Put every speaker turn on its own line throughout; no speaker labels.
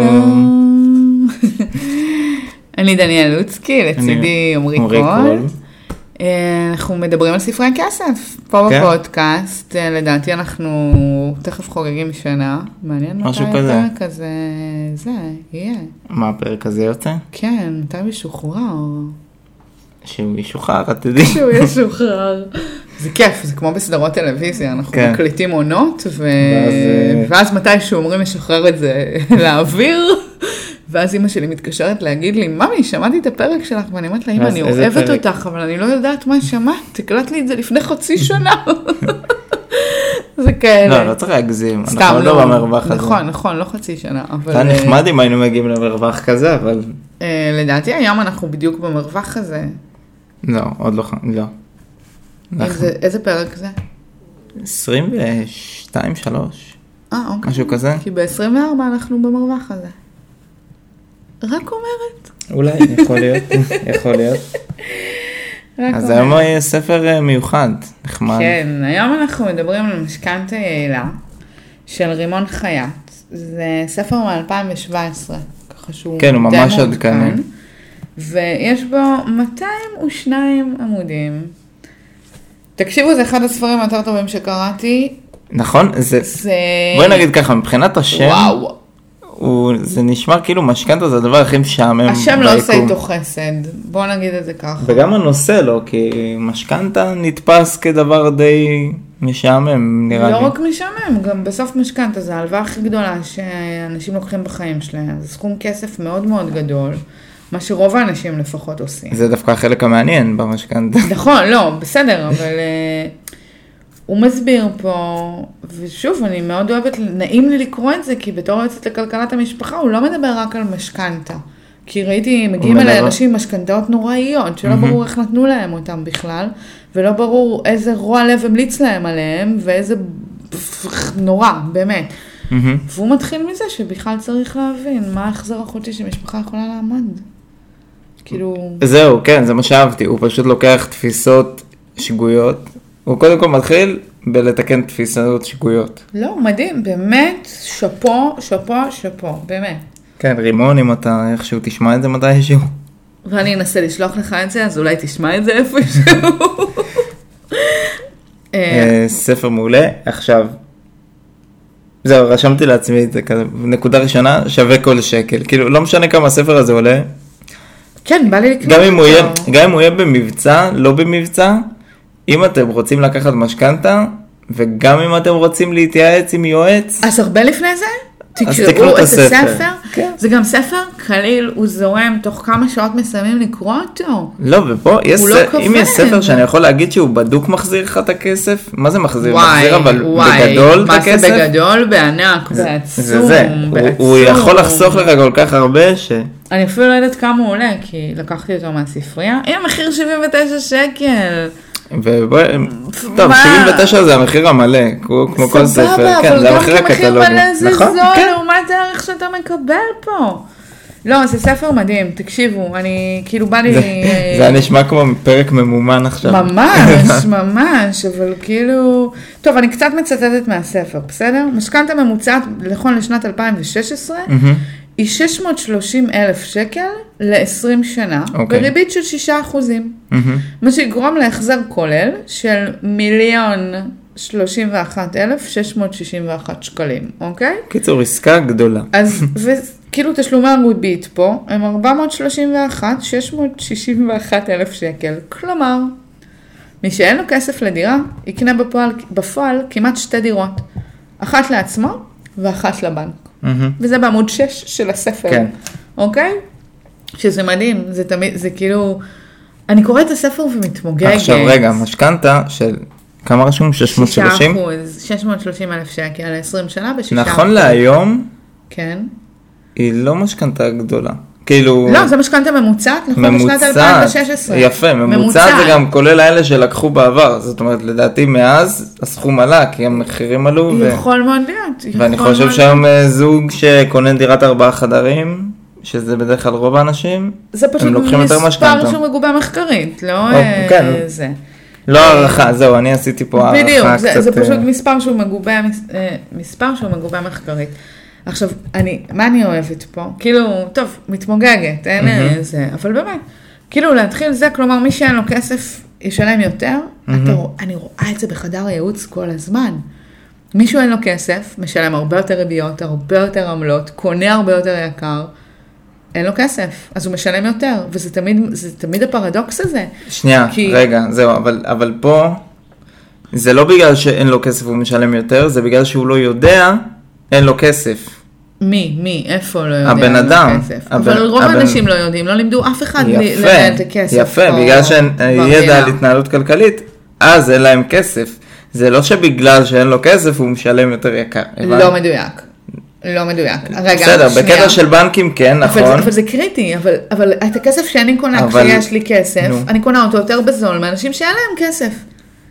שלום. אני דניאל לוצקי, לצידי
אני
עמרי
עמרי
קול.
קול.
אה, אנחנו מדברים על ספרי כסף, פה
כן.
בפודקאסט, אה, לדעתי אנחנו תכף חוגגים שנה, מעניין מתי
משהו כזה.
הפרק הזה, זה, יהיה,
מה הפרק הזה יוצא?
כן, מתי הוא ישוחרר,
שהוא ישוחרר, את תדעי.
שהוא ישוחרר, זה כיף, זה כמו בסדרות טלוויזיה, אנחנו
כן.
מקליטים עונות, ו...
ואז, אה,
ואז מתישהו אומרים לשחרר את זה לאוויר. ואז אימא שלי מתקשרת להגיד לי, ממי, שמעתי את הפרק שלך, ואני אומרת לה, אימא,
ואז
אני
איזה
אוהבת
פרק?"
אותך, אבל אני לא יודעת מה שמעת, הקלט לי את זה לפני חצי שנה. זה כאלה.
לא, לא צריך להגזים,
סתם,
אנחנו עוד לא במרווח הזה.
נכון, נכון, לא חצי שנה, אבל...
זה היה
אה,
נחמד אם היינו מגיעים למרווח כזה, אבל
אה, לדעתי היום אנחנו בדיוק במרווח הזה.
לא, עוד לא, ח- לא. אנחנו-
איזה- איזה פרק זה?
22, 3,
אה, אוקיי.
משהו כזה?
כי ב-24 אנחנו במרווח הזה. רק אומרת.
אולי, יכול להיות, יכול להיות.
רק
אז
אומרת.
היום יהיה ספר אה, מיוחד, נחמד.
כן, היום אנחנו מדברים על משכנתה יעילה של רימון חייט. זה ספר מ-2017, ככה שהוא
כן, הוא
די
ממש
מעודכן.
עדכני.
ויש בו 202 עמודים. תקשיבו, זה אחד הספרים היותר טובים שקראתי.
נכון? זה...
זה...
בואי נגיד ככה, מבחינת השם,
וואו,
הוא- זה נשמע כאילו משכנתה זה הדבר הכי משעמם.
השם לא עושה
ביקום.
איתו חסד, בואו נגיד את זה ככה.
וגם הנושא לא, כי משכנתה נתפס כדבר די משעמם, נראה
לא
לי.
רק משעמם, גם בסוף משכנתה זה ההלוואה הכי גדולה שאנשים לוקחים בחיים שלהם. זה סכום כסף מאוד מאוד גדול, מה שרוב האנשים לפחות עושים.
זה דווקא החלק המעניין במשכנתה.
נכון, לא, בסדר, אבל אה, הוא מסביר פה, ושוב, אני מאוד אוהבת, נעים לי לקרוא את זה, כי בתור יועצת לכלכלת המשפחה, הוא לא מדבר רק על משכנתה. כי ראיתי, מגיעים אליי
מדבר-
אנשים עם משכנתאות נוראיות, שלא ברור איך נתנו להם אותם בכלל, ולא ברור איזה רוע לב המליץ להם עליהם, ואיזה נורא, באמת.
מהמם.
והוא מתחיל מזה שבכלל צריך להבין מה ההחזר החודשי שמשפחה יכולה לעמוד. כאילו...
זהו, כן, זה מה שאהבתי, הוא פשוט לוקח תפיסות שגויות. הוא קודם כל מתחיל בלתקן תפיסות שגויות.
לא, מדהים, באמת, שאפו, שאפו, שאפו, באמת.
כן, רימון, אם אתה איכשהו תשמע את זה מתישהו.
ואני אנסה לשלוח לך את זה, אז אולי תשמע את זה איפשהו. אה,
אה, ספר מעולה. עכשיו, זהו, רשמתי לעצמי את זה כזה. נקודה ראשונה, שווה כל שקל. כאילו, לא משנה כמה הספר הזה עולה,
כן, בא לי לקנות.
גם אם הוא יהיה,
אותו.
גם אם הוא יהיה במבצע, לא במבצע, אם אתם רוצים לקחת משכנתה, וגם אם אתם רוצים להתייעץ עם יועץ,
אז הרבה לפני זה,
אז תקראו
תקראו
את
את
הספר.
הספר.
כן.
זה גם ספר קליל, הוא זורם, תוך כמה שעות מסיימים לקרוא אותו.
לא, ופה, יש
הוא לא
ספר, אם
כובד.
יש ספר שאני יכול להגיד שהוא בדוק מחזיר לך את הכסף, מה זה מחזיר? מחזיר אבל
וואי,
בגדול את
מה
הכסף?
זה בגדול? בענק,
זה-
בעצום,
זה זה, הוא- הוא
בעצום.
יכול לחסוך לך כל כך הרבה ש...
אני אפילו לא יודעת כמה הוא עולה, כי לקחתי אותו מהספרייה. הנה, מחיר 79 שקל.
ובוא, טוב,
מה?
79 זה המחיר המלא, כמו כמו כל ספר,
סבבה,
כן,
אבל
זה
גם
המחיר
כמחיר
הקטלוגי.
מלא זה
נכון,
זול,
כן.
לעומת הערך שאתה מקבל פה. לא, זה ספר מדהים, תקשיבו, אני, כאילו בא לי...
זה זה היה נשמע כמו פרק ממומן עכשיו.
ממש, ממש, אבל כאילו... טוב, אני קצת מצטטת מהספר, בסדר? משכנתה ממוצעת, נכון לשנת 2016,
מהמם.
היא 630 אלף שקל ל-20 שנה,
אוקיי.
בריבית של 6 אחוזים.
מהמם.
מה שיגרום להחזר כולל של מיליון 31,661 שקלים, אוקיי?
קיצור, עסקה גדולה.
אז וכאילו תשלומי הריבית פה הם 431,661 אלף שקל. כלומר, מי שאין לו כסף לדירה, יקנה בפועל, בפועל כמעט שתי דירות. אחת לעצמו ואחת לבנק.
מהמם.
וזה בעמוד 6 של הספר,
כן.
אוקיי? שזה מדהים, זה תמיד, זה כאילו, אני קוראת את הספר ומתמוגגת.
עכשיו רגע, משכנתה של כמה רשום? 630?
630 אלף שקל, 20 שנה בשישה.
נכון
אחוז.
להיום,
כן.
היא לא משכנתה גדולה. כאילו,
לא, זה משכנתה ממוצעת, נכון? בשנת 2016.
יפה, ממוצעת זה גם כולל האלה שלקחו בעבר. זאת אומרת, לדעתי מאז הסכום עלה, כי המחירים עלו. ו-
יכול מאוד להיות. יכול
ואני חושב
מאוד
שהיום אה, זוג שקונה דירת ארבעה חדרים, שזה בדרך כלל רוב האנשים,
זה פשוט
הם לוקחים יותר
מספר
משכנתה.
שמגובה מחקרית, לא
או,
אה,
כן.
זה.
לא הערכה, זהו, אני עשיתי פה הערכה
אה. בדיוק,
קצת...
זה, זה פשוט
אה,
מספר שהוא מגובה, מס- אה, מספר שהוא מגובה מחקרית. עכשיו, אני, מה אני אוהבת פה? כאילו, טוב, מתמוגגת, אין
מהמם.
mm-hmm. זה, אבל באמת, כאילו להתחיל זה, כלומר מי שאין לו כסף ישלם יותר, mm-hmm. אתה, רוא- אני רואה את זה בחדר הייעוץ כל הזמן. מישהו אין לו כסף, משלם הרבה יותר ריביות, הרבה יותר עמלות, קונה הרבה יותר יקר, אין לו כסף, אז הוא משלם יותר, וזה תמיד, זה תמיד הפרדוקס הזה.
שנייה,
כי-
רגע, זהו, אבל, אבל פה, זה לא בגלל שאין לו כסף הוא משלם יותר, זה בגלל שהוא לא יודע, אין לו כסף.
מי, מי, איפה לא יודע
הבן
על
אדם,
הכסף.
הבן-
אבל רוב
הבן-
האנשים לא יודעים, לא לימדו אף אחד מ-
יפה,
לנהל את הכסף.
יפה,
פה
בגלל שאין ידע
במדינה.
על התנהלות כלכלית, אז אין להם כסף. זה לא שבגלל שאין לו כסף הוא משלם יותר יקר, הבנת?
לא מדויק. לא מדויק. רגע,
בסדר,
שנייה.
בקטע של בנקים כן,
אבל,
נכון.
זה, אבל זה קריטי, אבל, אבל את הכסף שאני קונה
אבל-
כשיש לי כסף,
נו.
אני קונה אותו יותר בזול מאנשים שאין להם כסף.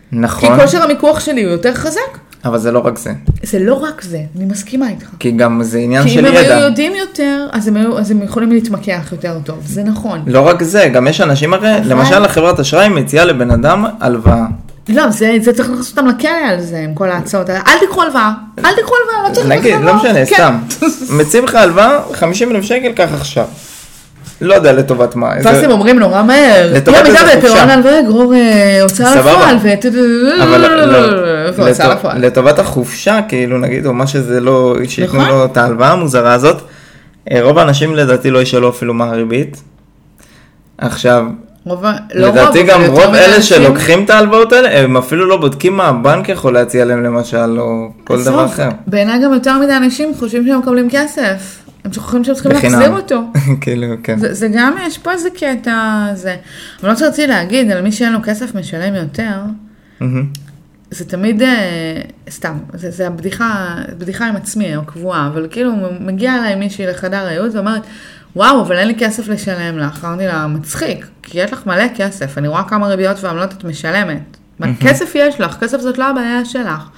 כי
נכון,
כושר המיקוח שלי הוא יותר חזק.
אבל זה לא רק זה.
זה לא רק זה, אני מסכימה איתך.
כי גם זה עניין
כי
של
אם הם היו
ידע.
יודעים יותר, אז הם, היו, אז הם יכולים להתמקח יותר טוב, זה נכון.
לא רק זה, גם יש אנשים הרי,
אבל-
למשל החברת אשראי מציעה לבן אדם הלוואה.
לא, זה, זה צריך להכניס אותם לכלא על זה, עם כל ההצעות האלה. אל תיקחו הלוואה, אל תיקחו הלוואה, לא צריך לקחת
נגיד,
הלוואה.
לא משנה,
כן.
סתם. מציעים לך הלוואה, 50 אלף שקל, קח עכשיו. לא יודע לטובת מה.
ואז
זה-
הם אומרים נורא מהר,
לטובת
היא עמידה
איזה
בפירעון
חופשה.
הלוואה יגרור אה, הוצאה
סבבה.
לפועל, ו...
אבל לא,
והוצאה
לטוב-
לפועל.
לטובת החופשה, כאילו נגיד, או מה שזה לא, שייתנו
נכון.
לו את ההלוואה המוזרה הזאת, אה, רוב האנשים לדעתי לא ישאלו אפילו מה הריבית. עכשיו,
רוב ה- לא רוב,
לדעתי
אבל
גם
יותר
רוב
מדי
אלה
אנשים-
שלוקחים את ההלוואות האלה, הם אפילו לא בודקים מה הבנק יכול להציע להם למשל, או כל
עזוב,
דבר אחר.
בעיניי גם יותר מדי אנשים חושבים שהם מקבלים כסף. הם שוכחים שהם צריכים
בחינם.
להחזיר אותו.
כאילו, כן.
זה זה גם, יש פה איזה קטע, זה... אבל מה שרציתי להגיד, על מי שאין לו כסף משלם יותר,
מהמם.
זה תמיד, אה, סתם, זה, זה הבדיחה, בדיחה עם עצמי, הקבועה, אבל כאילו מגיעה אליי מישהי לחדר הייעוץ ואומרת, וואו, אבל אין לי כסף לשלם לך. אמרתי לה, מצחיק, כי יש לך מלא כסף, אני רואה כמה ריביות ועמלות את משלמת. מה, כסף יש לך, כסף זאת לא הבעיה שלך.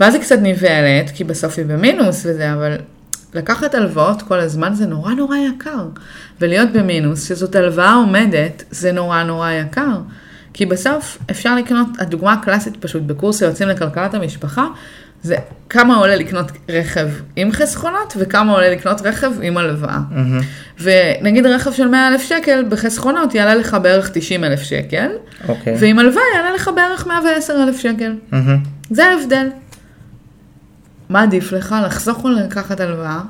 ואז היא קצת נבהלת, כי בסוף היא במינוס וזה, אבל לקחת הלוואות כל הזמן זה נורא נורא יקר. ולהיות במינוס, שזאת הלוואה עומדת, זה נורא נורא יקר. כי בסוף אפשר לקנות, הדוגמה הקלאסית פשוט בקורס היוצאים לכלכלת המשפחה, זה כמה עולה לקנות רכב עם חסכונות וכמה עולה לקנות רכב עם הלוואה. ונגיד רכב של 100 אלף שקל בחסכונות יעלה לך בערך 90 אלף שקל,
אוקיי.
ועם הלוואה יעלה לך בערך 110 אלף שקל.
מהמם.
זה ההבדל. מה עדיף לך, לחסוך או לקחת הלוואה?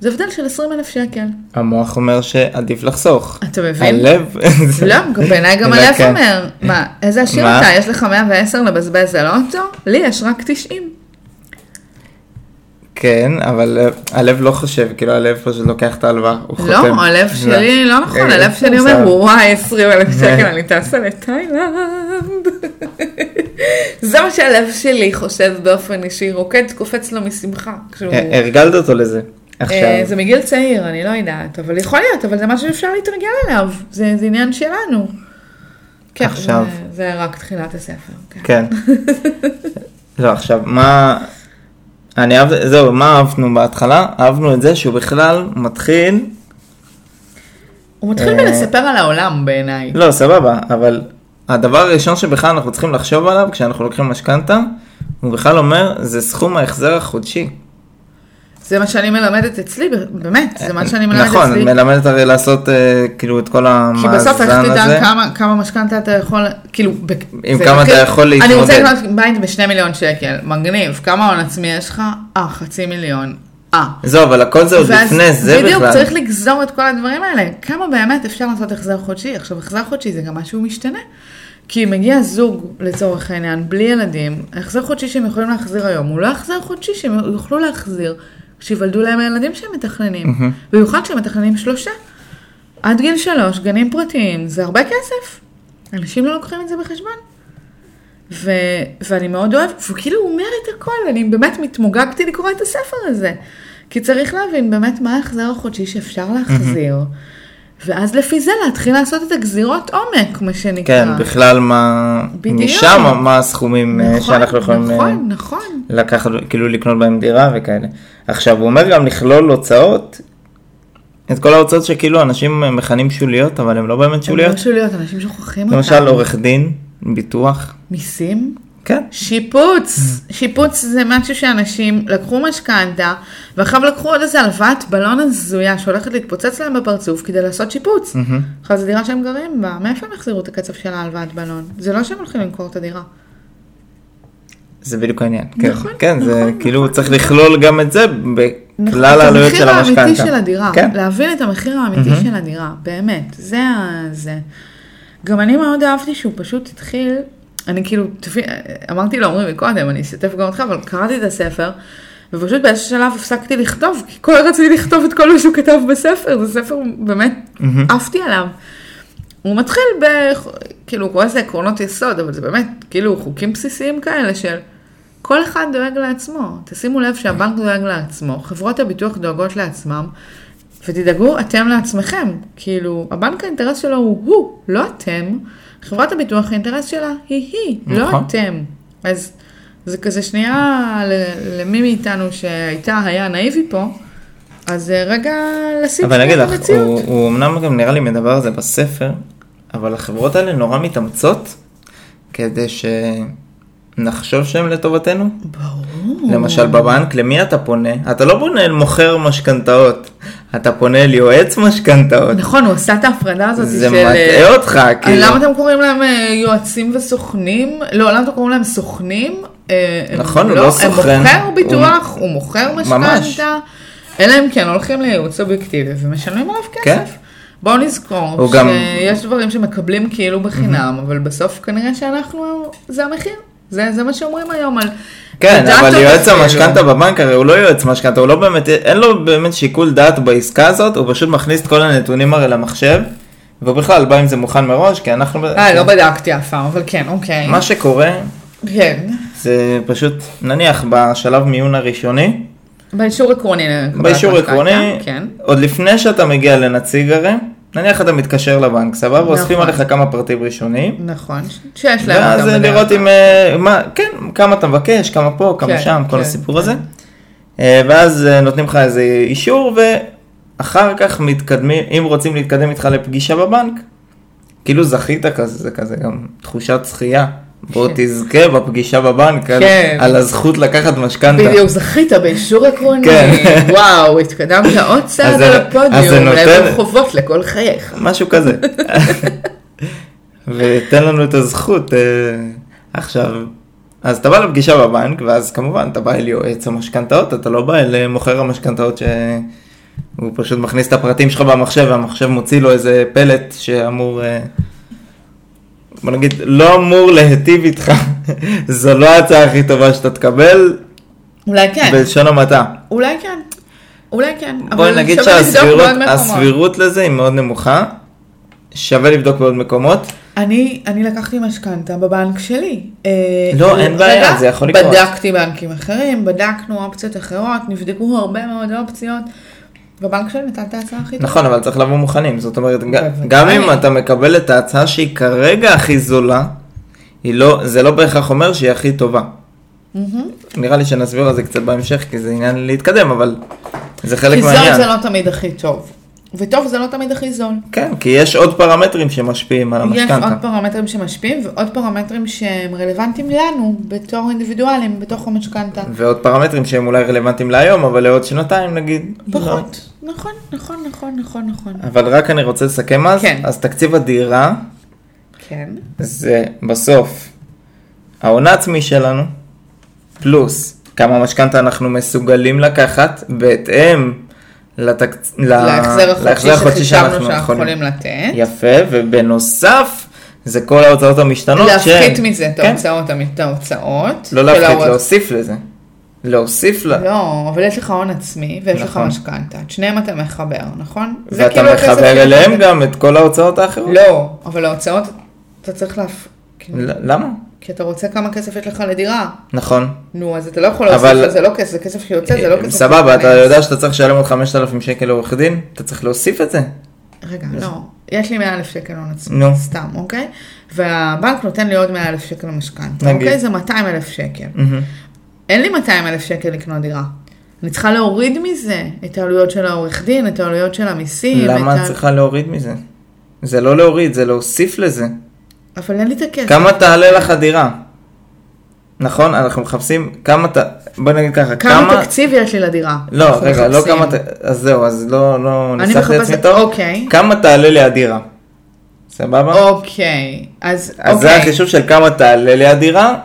זה הבדל של 20 אלף שקל.
המוח אומר שעדיף לחסוך.
אתה מבין?
הלב, זה-
לא, גם בעיניי גם
אלא
הלב
כן.
אומר, מה, איזה עשיר
מה?
אתה, יש לך 110 לבזבז על אוטו? לי יש רק 90.
כן, אבל אה, הלב לא חושב, כאילו הלב פשוט לוקח את ההלוואה, הוא חותם.
לא, הלב שלי, לא נכון,
אה,
הלב שלי
בסדר.
אומר, וואי, 20 אלף שקל, אני טסה לתאילנד. זה מה שהלב שלי חושב באופן אישי, רוקד קופץ לו משמחה. כשהוא-
אה, הרגלת אותו לזה. עכשיו,
אה, זה מגיל צעיר, אני לא יודעת, אבל יכול להיות, אבל זה משהו שאפשר להתרגל אליו, זה זה עניין שלנו. כן,
עכשיו.
זה- זה רק תחילת הספר. כן.
כן. לא, עכשיו, מה... אני אהב... זהו, מה אהבנו בהתחלה? אהבנו את זה שהוא בכלל מתחיל...
הוא מתחיל
אה,
מלספר על העולם בעיניי.
לא, סבבה, אבל הדבר הראשון שבכלל אנחנו צריכים לחשוב עליו כשאנחנו לוקחים משכנתה, הוא בכלל אומר, זה סכום ההחזר החודשי.
זה מה שאני מלמדת אצלי, באמת, זה מה שאני מלמדת
נכון,
אצלי.
מלמדת הרי לעשות אה, כאילו את כל
כי
המאזן הזה.
בסוף איך תדע כמה- כמה משכנתה אתה יכול, כאילו, בק-
עם
זה
כמה
מתחיל-
אתה יכול
אני רוצה
להתמודד.
לקנות בית בשני מיליון שקל, מגניב, כמה הון עצמי יש לך? אה, חצי מיליון. אה.
זהו, אבל הכל זה עוד
ואז-
לפני זה
בדיוק,
בכלל.
צריך לגזור את כל הדברים האלה. כמה באמת אפשר לעשות החזר חודשי? עכשיו, החזר חודשי זה גם משהו משתנה. כי מגיע זוג, לצורך העניין, בלי ילדים, החזר חודשי שהם יכולים להחזיר היום, הוא לא החזר חודשי שהם יוכלו להחזיר כשיוולדו להם הילדים שהם מתכננים. במיוחד כשהם מתכננים שלושה. עד גיל שלוש, גנים פרטיים, זה הרבה כסף. אנשים לא לוקחים את זה בחשבון. ו- ואני מאוד אוהבת, וכאילו הוא אומר את הכל, אני באמת מתמוגגתי לקרוא את הספר הזה. כי צריך להבין באמת מה ההחזר החודשי שאפשר להחזיר. ואז לפי זה להתחיל לעשות את הגזירות עומק, מה שנקרא.
כן, בכלל מה...
אה. בדיוק.
משם מה הסכומים אה, שאנחנו יכולים אה,
נכון, נכון.
לקחת, כאילו לקנות בהם דירה וכאלה. עכשיו, הוא אומר גם לכלול הוצאות, את כל ההוצאות שכאילו אנשים אה, מכנים שוליות, אבל הן לא באמת
הם
שוליות.
לא שוליות, אנשים שוכחים אותם.
למשל, עורך דין, ביטוח,
מיסים?
כן.
שיפוץ, שיפוץ זה משהו שאנשים לקחו משכנתה, ואחריו לקחו עוד איזה הלוואת בלון הזויה שהולכת להתפוצץ להם בפרצוף כדי לעשות
Mm.
שיפוץ. אחרי זו דירה שהם גרים בה, מאיפה הם יחזירו את הקצב של ההלוואת בלון? זה לא שהם הולכים למכור את הדירה.
זה בדיוק העניין. כן,
נכון,
כן, זה
נכון,
כאילו צריך לכלול גם את זה
נכון,
בכלל העלויות של המשכנתה.
את המחיר האמיתי של הדירה,
כן.
להבין את המחיר האמיתי של הדירה, באמת, זה ה... זה. גם אני מאוד אהבתי שהוא פשוט התחיל, אני כאילו, תפי- אמרתי לעומרי מקודם, אני אשתף גם אותך, אבל קראתי את הספר, ופשוט באיזשהו שלב הפסקתי לכתוב, כי כל רציתי לכתוב את כל מה שהוא כתב בספר, זה ספר באמת, עפתי עליו. הוא מתחיל ב... כאילו, הוא קורא לזה עקרונות יסוד, אבל זה באמת, כאילו, חוקים בסיסיים כאלה של כל אחד דואג לעצמו. תשימו לב שהבנק דואג לעצמו, חברות הביטוח דואגות לעצמם, ותדאגו אתם לעצמכם. כאילו, הבנק האינטרס שלו הוא הוא, לא אתם. חברת הביטוח האינטרס שלה היא היא, לא
נכון.
אתם. אז זה כזה שנייה ל- למי מאיתנו שהייתה, היה נאיבי פה, אז אה, רגע לשים
אבל אני אגיד
שנייה
לך, הוא, הוא אמנם גם נראה לי מדבר על זה בספר, אבל החברות האלה נורא מתאמצות כדי שנחשוב שהן לטובתנו.
ברור.
למשל בבנק, למי אתה פונה? אתה לא פונה אל מוכר משכנתאות, אתה פונה אל יועץ משכנתאות.
נכון, הוא עשה את ההפרדה הזאת של...
זה מטעה אותך,
אה,
כאילו.
למה אתם קוראים להם אה, יועצים וסוכנים? לא, למה אתם קוראים להם סוכנים? אה, הם
נכון, הוא לא סוכן.
הם מוכר
הוא-
ביטוח, הוא מוכר
ממש.
משכנתה, אלא אם כן הולכים לייעוץ אובייקטיבי ומשלמים עליו
כן.
כסף. בואו נזכור
הוא גם-
שיש דברים שמקבלים כאילו בחינם, אבל בסוף כנראה שאנחנו, זה המחיר. זה זה מה שאומרים היום על...
כן,
הדאטות
אבל יועץ
אפילו.
המשכנתה בבנק הרי הוא לא יועץ משכנתה, הוא לא באמת, אין לו באמת שיקול דעת בעסקה הזאת, הוא פשוט מכניס את כל הנתונים הרי למחשב, ובכלל בא עם זה מוכן מראש, כי אנחנו...
אה, לא בדקתי אף פעם, אבל כן, אוקיי.
מה שקורה,
כן.
זה פשוט, נניח בשלב מיון הראשוני,
באישור עקרוני. לקבלת
באישור
משכנתה,
עקרוני,
כן.
עוד לפני שאתה מגיע לנציג הרי, נניח אתה מתקשר לבנק, סבבה,
נכון.
אוספים עליך כמה פרטים ראשוניים,
נכון, ש- שיש להם
ואז
אותם בדרך
לראות
כלל.
אם, אה, מה, כן, כמה אתה מבקש, כמה פה, כמה
כן,
שם, כל
כן,
הסיפור הזה, אה, ואז אה, נותנים לך איזה אישור, ואחר כך מתקדמים, אם רוצים להתקדם איתך לפגישה בבנק, כאילו זכית כזה, זה כזה גם תחושת זכייה. בוא
כן.
תזכה בפגישה בבנק על,
כן.
על הזכות לקחת משכנתה.
בדיוק, זכית באישור עקרוני,
כן.
וואו, התקדמת עוד צעד
זה- לא-
על
אז זה
הפודיום,
נותן-
לעבר חובות לכל חייך.
משהו כזה. ותן לנו את הזכות אה, עכשיו. אז אתה בא לפגישה בבנק, ואז כמובן אתה בא אל יועץ המשכנתאות, אתה לא בא אל מוכר המשכנתאות שהוא פשוט מכניס את הפרטים שלך במחשב, והמחשב מוציא לו איזה פלט שאמור, אה, בוא נגיד, לא אמור להיטיב איתך. זו לא ההצעה הכי טובה שאתה תקבל,
אולי כן,
בלשון המעטה.
אולי כן, אולי כן.
בואי
אבל
נגיד
שווה לבדוק
שהסבירות
בעוד מקומות.
הסבירות לזה היא מאוד נמוכה, שווה לבדוק בעוד מקומות.
אני, אני לקחתי משכנתה בבנק שלי. אה,
לא, אין בעיה,
רגע,
זה יכול לקרות.
בדקתי בנקים אחרים, בדקנו אופציות אחרות, נבדקו הרבה מאוד אופציות. בבנק שלי נתן את ההצעה הכי טובה.
נכון, אבל צריך לבוא מוכנים, זאת אומרת, ג-
בוודאי.
גם אם אתה מקבל את ההצעה שהיא כרגע הכי זולה, היא לא, זה לא בהכרח אומר שהיא הכי טובה.
מהמם.
נראה לי שנסביר על זה קצת בהמשך, כי זה עניין להתקדם, אבל זה חלק
כי זול
מהעניין.
זה לא תמיד הכי טוב. וטוב זה לא תמיד הכי זול.
כן, כי יש עוד פרמטרים שמשפיעים על
יש עוד
המשכנתה.
פרמטרים שמשפיעים ועוד פרמטרים שהם רלוונטיים לנו בתור אינדיבידואלים בתוך המשכנתה.
ועוד פרמטרים שהם אולי רלוונטיים להיום, אבל לעוד שנתיים נגיד. לא.
פחות. נכון, נכון, נכון, נכון, נכון.
אבל רק אני רוצה לסכם אז,
כן.
אז תקציב הדירה
כן.
זה בסוף ההון העצמי שלנו, פלוס כמה משכנתה אנחנו מסוגלים לקחת בהתאם לתק... ל-
להחזר החודשי שחישבנו שאנחנו
יכולים.
יכולים לתת.
יפה, ובנוסף זה כל ההוצאות המשתנות.
להפחית
שהן-
מזה את
לא, כן,
ההוצאות, את ההוצאות. של
לא להפחית,
ההוצאות.
להוסיף לזה. להוסיף ל...
לא, אבל יש לך הון עצמי ויש לך
נכון.
משכנתה. את שניהם אתה מחבר, נכון? זה
ואתה
כאילו הכסף
מחבר
שאתה
אליהם
מקבל.
גם את כל ההוצאות האחרות.
לא, אבל ההוצאות, אתה צריך להפ... כאילו,
ל- למה?
כי אתה רוצה כמה כסף יש לך לדירה.
נכון.
נו, אז אתה לא יכול
אבל- אה,
להוסיף על זה לא כסף, זה כסף שיוצא, זה לא כסף...
סבבה, אתה
שייכנס.
יודע שאתה צריך לשלם עוד 5,000 שקל לעורך דין? אתה צריך להוסיף את זה.
רגע, לא. יש לי 100 אלף שקל הון עצמי,
נו.
סתם, אוקיי? והבנק נותן לי עוד 100 אלף שקל למשכנתה,
נגיד.
אוקיי? זה 200 אלף שקל.
מהמם.
אין לי 200 אלף שקל לקנות דירה. אני צריכה להוריד מזה את העלויות של העורך דין, את העלויות של המיסים.
למה
את
את צריכה להוריד מזה? זה לא להוריד, זה להוסיף לזה.
אבל אין לי את הכסף.
כמה תעלה לך הדירה? נכון, אנחנו מחפשים כמה, ת... בוא נגיד ככה,
כמה
כמה...
תקציב יש לי לדירה?
לא,
אנחנו
רגע, לא
מחפשים.
כמה... ת- אז זהו, אז לא, לא
אני
ניסחתי את עצמי
מחפשת-
טוב.
אוקיי.
כמה תעלה לי הדירה? סבבה?
אוקיי, אז
אז זה
אוקיי.
החישוב של כמה תעלה לי הדירה,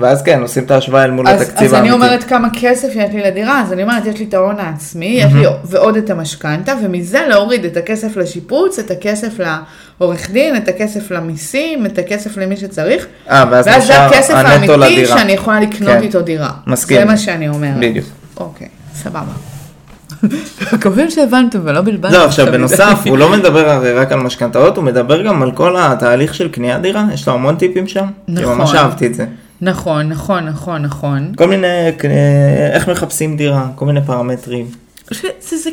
ואז כן, עושים את ההשוואה אל מול
אז,
התקציב האמיתי.
אז אני אומרת כמה כסף יש לי לדירה, אז אני אומרת יש לי את ההון העצמי, יש לי ועוד את המשכנתה, ומזה להוריד את הכסף לשיפוץ, את הכסף לעורך דין, את הכסף למיסים, את הכסף למי שצריך,
אה, ואז
ואז זה
נשאר
הכסף
הנטו
האמיתי
לדירה.
שאני יכולה לקנות
כן.
איתו דירה.
מסכים.
זה מה שאני אומרת.
בדיוק.
אוקיי, סבבה. מקווים שהבנתם ולא בלבלתם.
לא, עכשיו בנוסף, הוא לא מדבר הרי רק על משכנתאות, הוא מדבר גם על כל התהליך של קניית דירה, יש לו המון טיפים שם.
נכון.
נכון. ממש אהבתי את זה.
נכון, נכון, נכון, נכון.
כל מיני, אה, איך מחפשים דירה, כל מיני פרמטרים.
שזה, זה,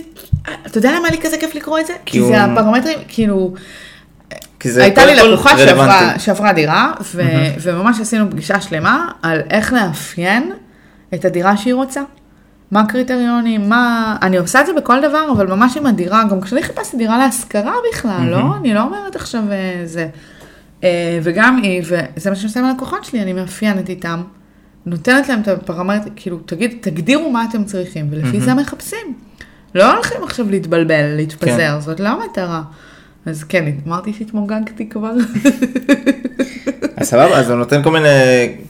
אתה יודע למה היה לי כזה כיף לקרוא את זה? כי
הוא-
זה הפרמטרים, כאילו,
כי זה
הייתה לי
קודם כל
לקוחה
רלוונטי.
שעברה- שעברה דירה, ו- וממש עשינו פגישה שלמה על איך לאפיין את הדירה שהיא רוצה. מה הקריטריונים, מה... אני עושה את זה בכל דבר, אבל ממש עם הדירה, גם כשאני חיפשתי דירה להשכרה בכלל, לא? אני לא אומרת עכשיו אה, זה. אה, וגם היא, וזה מה שאני עושה עם הלקוחות שלי, אני מאפיינת איתם, נותנת להם את הפרמטר, כאילו, תגיד, תגדירו מה אתם צריכים, ולפי זה מחפשים. לא הולכים עכשיו להתבלבל,
כן.
להתפזר, זאת לא המטרה. אז כן, אמרתי שהתמוגגתי כבר.
אז אה, סבבה, אז הוא נותן כל מיני,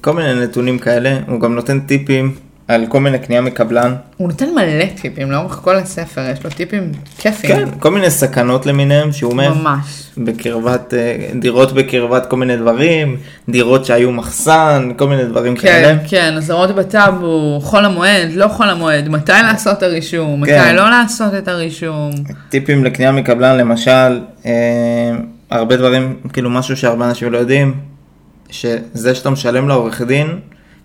כל מיני נתונים כאלה, הוא גם נותן טיפים על כל מיני קנייה מקבלן.
הוא נותן מלא טיפים לאורך כל הספר, יש לו טיפים כיפים.
כן, כל מיני סכנות למיניהם שהוא אומר.
ממש.
בקרבת, אה, דירות בקרבת כל מיני דברים, דירות שהיו מחסן, כל מיני דברים כאלה.
כן, כן, אזהרות בטאבו, חול המועד, לא חול המועד, מתי לעשות את הרישום, מתי
כן.
לא לעשות את הרישום.
טיפים לקנייה מקבלן למשל, אה, הרבה דברים, כאילו משהו שהרבה אנשים לא יודעים, שזה שאתה משלם לעורך דין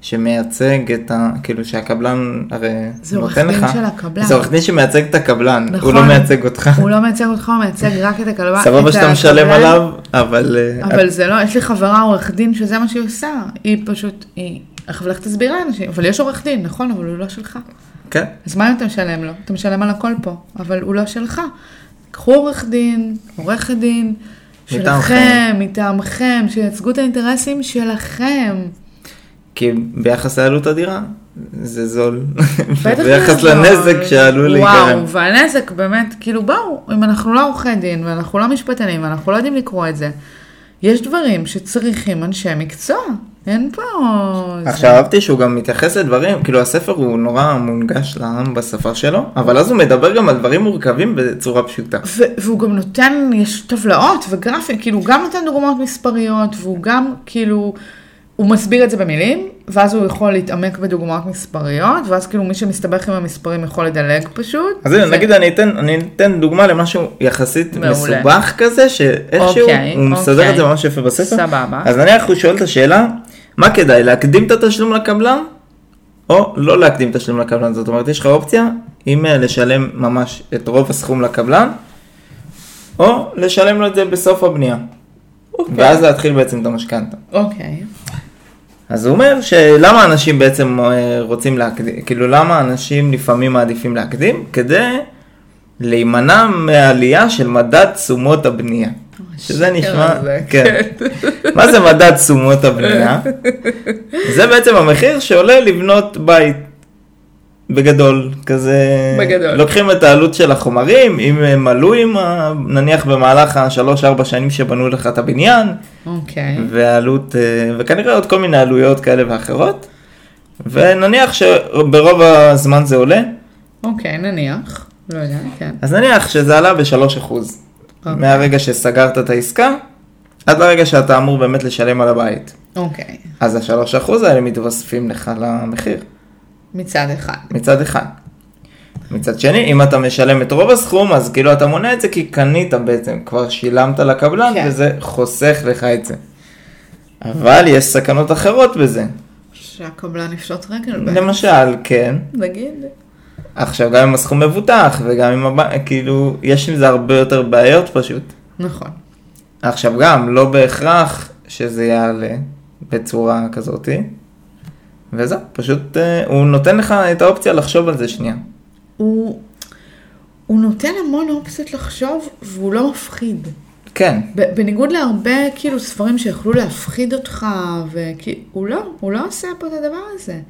שמייצג את ה... כאילו שהקבלן הרי
זה עורך דין של הקבלן.
זה עורך דין שמייצג את הקבלן,
נכון.
הוא לא מייצג אותך.
הוא לא מייצג אותך, הוא מייצג רק את הכלבה.
סבבה
את
שאתה משלם
הקבלן,
עליו, אבל... אה,
אבל זה לא, יש לי חברה עורך דין שזה מה שהיא עושה, היא פשוט, היא, עכשיו לך תסביר לאנשים, אבל יש עורך דין, נכון, אבל הוא לא שלך.
כן,
אז מה אם אתה משלם לו? אתה משלם על הכל פה, אבל הוא לא שלך. קחו עורך דין, עורכת דין,
מטעמכם.
שלכם, מטעמכם, שייצגו את האינטרסים שלכם.
כי ביחס לעלות הדירה, זה זול.
בטח
ביחס
שזה לא-
לנזק שעלול להיגרם.
וואו, והנזק באמת, כאילו בואו, אם אנחנו לא עורכי דין, ואנחנו לא משפטנים, ואנחנו לא יודעים לקרוא את זה, יש דברים שצריכים אנשי מקצוע. אין פה... זה-
עכשיו אהבתי שהוא גם מתייחס לדברים, כאילו הספר הוא נורא מונגש לעם בשפה שלו, אבל אז הוא מדבר גם על דברים מורכבים בצורה פשוטה.
ו- והוא גם נותן, יש טבלאות וגרפים, כאילו הוא גם נותן דוגמאות מספריות, והוא גם כאילו, הוא מסביר את זה במילים, ואז הוא יכול להתעמק בדוגמאות מספריות, ואז כאילו מי שמסתבך עם המספרים יכול לדלג פשוט.
אז הנה,
זה-
נגיד אני אתן, אני אתן דוגמה למשהו יחסית
מעולה.
מסובך כזה, שאיכשהו
אוקיי,
הוא מסדר
אוקיי.
את זה ממש יפה בספר.
סבבה.
אז נניח הוא שואל את השאלה, מה כדאי, להקדים את התשלום לקבלן, או לא להקדים את התשלום לקבלן? זאת אומרת, יש לך אופציה, אם אה, לשלם ממש את רוב הסכום לקבלן, או לשלם לו את זה בסוף הבנייה. ואז להתחיל בעצם את המשכנתה.
אוקיי.
אז הוא אומר שלמה אנשים בעצם אה, רוצים להקדים, כאילו למה אנשים לפעמים מעדיפים להקדים? כדי להימנע מעלייה של מדד תשומות הבנייה. שזה נשמע,
הזה,
כן. מה זה מדד תשומות הבנייה? זה בעצם המחיר שעולה לבנות בית. בגדול, כזה,
בגדול.
לוקחים את העלות של החומרים, אם הם עלו עם, ה- נניח במהלך השלוש-ארבע שנים שבנו לך את הבניין,
אוקיי.
והעלות, אה, וכנראה עוד כל מיני עלויות כאלה ואחרות, ונניח שברוב הזמן זה עולה,
אוקיי, נניח. לא יודע, כן.
אז נניח שזה עלה ב-3%,
אוקיי.
מהרגע שסגרת את העסקה, עד לרגע שאתה אמור באמת לשלם על הבית.
אוקיי.
אז ה-3% האלה מתווספים לך למחיר,
מצד אחד.
מצד אחד. מצד שני, אם אתה משלם את רוב הסכום, אז כאילו אתה מונע את זה כי קנית בעצם, כבר שילמת לקבלן,
כן.
וזה חוסך לך את זה. אבל יש סכנות אחרות בזה.
שהקבלן יפשוט רגל בהם.
למשל, כן.
נגיד.
עכשיו, גם אם הסכום מבוטח, וגם אם הבנק, כאילו, יש עם זה הרבה יותר בעיות פשוט.
נכון.
עכשיו גם, לא בהכרח שזה יעלה בצורה כזאתי. וזהו, פשוט אה, הוא נותן לך את האופציה לחשוב על זה שנייה.
הוא הוא נותן המון אופציות לחשוב, והוא לא מפחיד.
כן.
ב- בניגוד להרבה כאילו ספרים שיכלו להפחיד אותך, וכי... הוא לא, הוא לא עושה פה את הדבר הזה.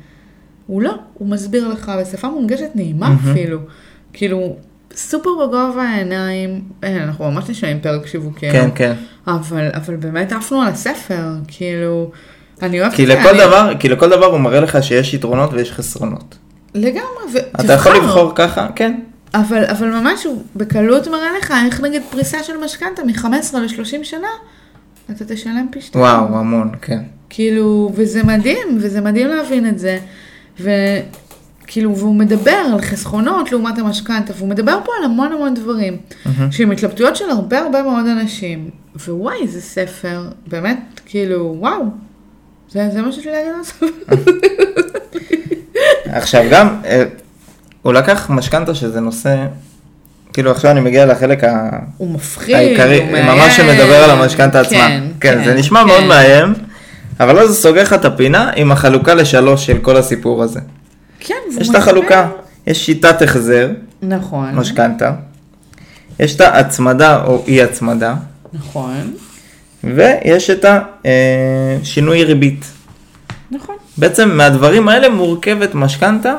הוא לא, הוא מסביר לך בשפה מונגשת נעימה
מהמם.
אפילו. כאילו, סופר בגובה העיניים, אה, אנחנו ממש נשמעים פרק שיווקי. לא?
כן, כן.
אבל, אבל באמת עפנו על הספר, כאילו, אני אוהבת
כי
את זה,
לכל
אני...
דבר, כי לכל דבר הוא מראה לך שיש יתרונות ויש חסרונות.
לגמרי, ותבחר.
אתה יכול לבחור ככה, כן.
אבל, אבל ממש הוא בקלות מראה לך איך נגיד פריסה של משכנתה מ-15 ל-30 שנה, אתה תשלם פי שתיים.
וואו, המון, כן.
כאילו, וזה מדהים, וזה מדהים להבין את זה. וכאילו, והוא מדבר על חסכונות לעומת המשכנתה, והוא מדבר פה על המון המון דברים,
מהמם.
שהם התלבטויות של הרבה הרבה מאוד אנשים. ווואי, זה ספר, באמת, כאילו, וואו. זה, זה מה שיש לי להגיד על הספר.
עכשיו גם, אה, הוא לקח משכנתה שזה נושא, כאילו עכשיו אני מגיע לחלק ה...
הוא מפחיד,
העיקרי,
כן, הוא מאיים.
ממש שמדבר על המשכנתה עצמה.
כן,
כן, זה נשמע
כן.
מאוד מאיים, אבל אז זה סוגר לך את הפינה עם החלוקה לשלוש של כל הסיפור הזה.
כן, והוא
יש את
מסביר-
החלוקה, יש שיטת החזר,
נכון,
משכנתה, יש את ההצמדה או אי הצמדה,
נכון,
ויש את השינוי ריבית.
נכון.
בעצם מהדברים האלה מורכבת משכנתה,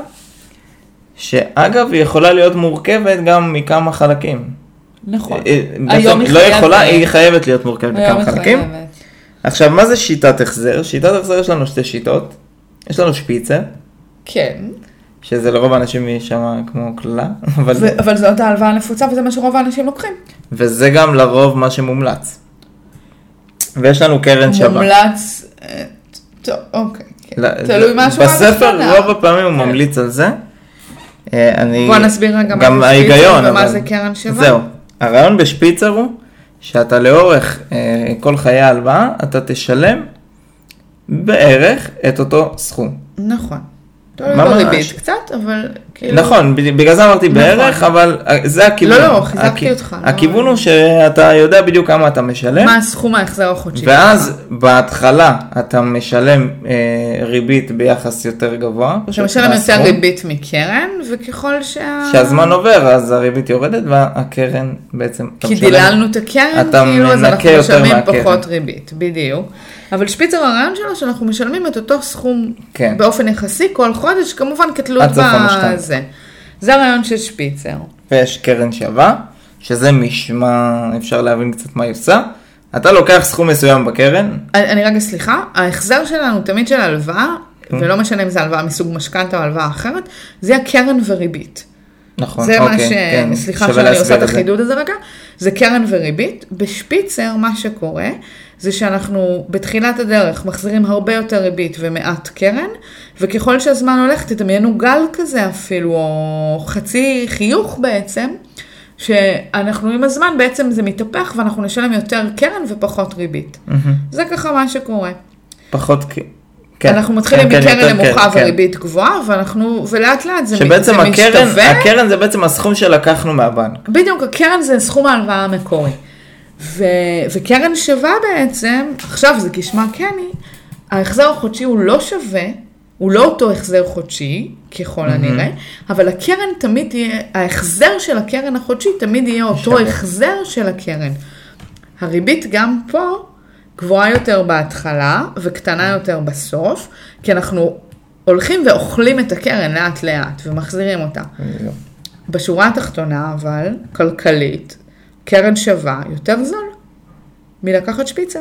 שאגב היא יכולה להיות מורכבת גם מכמה חלקים.
נכון.
אה,
היום
בעצם
היא
לא
חייבת.
יכולה, היא חייבת להיות מורכבת
היום
מכמה
את
חלקים.
חייבת.
עכשיו, מה זה שיטת החזר? שיטת החזר יש לנו שתי שיטות. יש לנו שפיצר,
כן.
שזה לרוב האנשים יישמע כמו קללה, אבל... ו...
ו- אבל זאת ההלוואה הנפוצה וזה מה שרוב האנשים לוקחים.
וזה גם לרוב מה שמומלץ. ויש לנו קרן שווה.
מומלץ, אה, טוב, אוקיי. כן.
ל-
תלוי
ל-
מה השורה
בספר
התחתונה.
רוב הפעמים הוא ממליץ על זה. אה, אני...
כן. בוא נסביר רגע מה
גם
זה
ההיגיון,
שפיצר ומה
אבל-
זה קרן שווה.
זהו. הרעיון בשפיצר הוא שאתה לאורך אה, כל חיי ההלוואה, אתה תשלם בערך את אותו סכום.
נכון. תלוי
ממש.
בריבית קצת, אבל כאילו...
נכון, בד- בגלל זה אמרתי
נכון.
בערך, אבל אה, זה הכיוון.
לא, לא, חיזקתי
הכ-
אותך, לא.
הכיוון הוא שאתה יודע בדיוק כמה אתה משלם,
מה הסכום ההחזר החודשי?
אה? ואז בהתחלה אתה משלם אה, ריבית ביחס יותר גבוה.
אתה משלם יותר
מהסכום.
ריבית מקרן, וככל שה...
כשהזמן עובר, אז הריבית יורדת והקרן בעצם... אתה
כי
משלם-
דיללנו את הקרן,
אתה
כאילו, אז
מנקה
אנחנו
יותר
משלמים
מהקרן.
פחות ריבית, בדיוק. אבל שפיצר הרעיון שלו שאנחנו משלמים את אותו סכום
כן.
באופן יחסי כל חודש, כמובן כתלות
עד סוף המשכנתה.
בזה. זה הרעיון של שפיצר.
ויש קרן שווה, שזה משמע, אפשר להבין קצת מה היא עושה. אתה לוקח סכום מסוים בקרן,
אני אני רגע סליחה, ההחזר שלנו הוא תמיד של הלוואה,
כן.
ולא משנה אם זה הלוואה מסוג משכנתה או הלוואה אחרת, זה הקרן וריבית.
נכון,
זה מה ש...
אוקיי, כן,
סליחה
שווה
שאני
להסביר
עושה את
זה.
החידוד הזה רגע, זה קרן וריבית. בשפיצר מה שקורה זה שאנחנו בתחילת הדרך מחזירים הרבה יותר ריבית ומעט קרן, וככל שהזמן הולך תדמיינו גל כזה אפילו, או חצי חיוך בעצם, שאנחנו עם הזמן בעצם זה מתהפך ואנחנו נשלם יותר קרן ופחות ריבית.
מהמם.
זה ככה מה שקורה.
פחות, כ-
כן,
כן.
אנחנו מתחילים
כן, כן,
מקרן
יותר
נמוכה
כן, כן.
וריבית גבוהה, ואנחנו, ולאט לאט זה, מת- זה
שבעצם הקרן,
משתווה.
הקרן זה בעצם הסכום שלקחנו מהבנק.
בדיוק, הקרן זה סכום ההלוואה המקורי. ו... וקרן שווה בעצם, עכשיו זה כשמה כן היא, ההחזר החודשי הוא לא שווה, הוא לא אותו החזר חודשי, ככל הנראה, אבל הקרן תמיד תהיה, ההחזר של הקרן החודשי תמיד יהיה אותו
שווה.
החזר של הקרן. הריבית גם פה גבוהה יותר בהתחלה וקטנה יותר בסוף, כי אנחנו הולכים ואוכלים את הקרן לאט לאט ומחזירים אותה. בשורה התחתונה, אבל, כלכלית, קרן שווה יותר זול מלקחת שפיצר.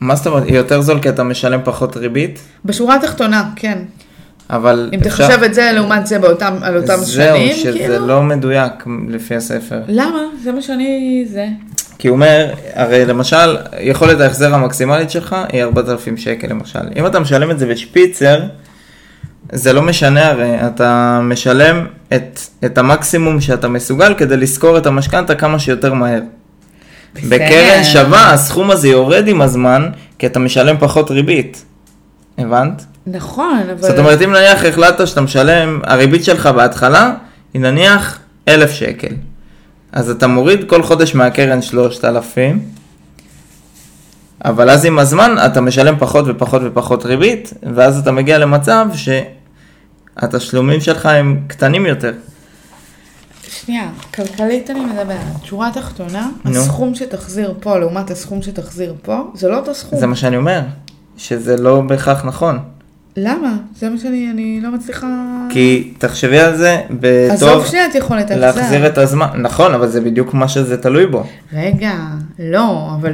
מה זאת אומרת, יותר זול כי אתה משלם פחות ריבית,
בשורה התחתונה, כן.
אבל
אם תחשב את זה לעומת זה באותם, על אותם שנים,
זהו, שזה
כאילו...
לא מדויק לפי הספר.
למה? זה מה שאני... זה.
כי הוא אומר, הרי למשל, יכולת ההחזר המקסימלית שלך היא 4,000 שקל למשל. אם אתה משלם את זה בשפיצר, זה לא משנה הרי, אתה משלם את, את המקסימום שאתה מסוגל כדי לשכור את המשכנתה כמה שיותר מהר.
בסדר.
בקרן שווה הסכום הזה יורד עם הזמן, כי אתה משלם פחות ריבית. הבנת?
נכון, אבל...
זאת אומרת, אם נניח החלטת שאתה משלם, הריבית שלך בהתחלה היא נניח 1,000 שקל. אז אתה מוריד כל חודש מהקרן 3,000, אבל אז עם הזמן אתה משלם פחות ופחות ופחות ריבית, ואז אתה מגיע למצב שהתשלומים שלך הם קטנים יותר.
שנייה, כלכלית אני מדברת. שורה תחתונה,
נו.
הסכום שתחזיר פה לעומת הסכום שתחזיר פה, זה לא אותו סכום.
זה מה שאני אומר, שזה לא בהכרח נכון.
למה? זה מה שאני, אני לא מצליחה...
כי תחשבי על זה
עזוב
בתור
שנייה את יכולת ההחזר.
להחזיר את הזמן, נכון, אבל זה בדיוק מה שזה תלוי בו.
רגע, לא, אבל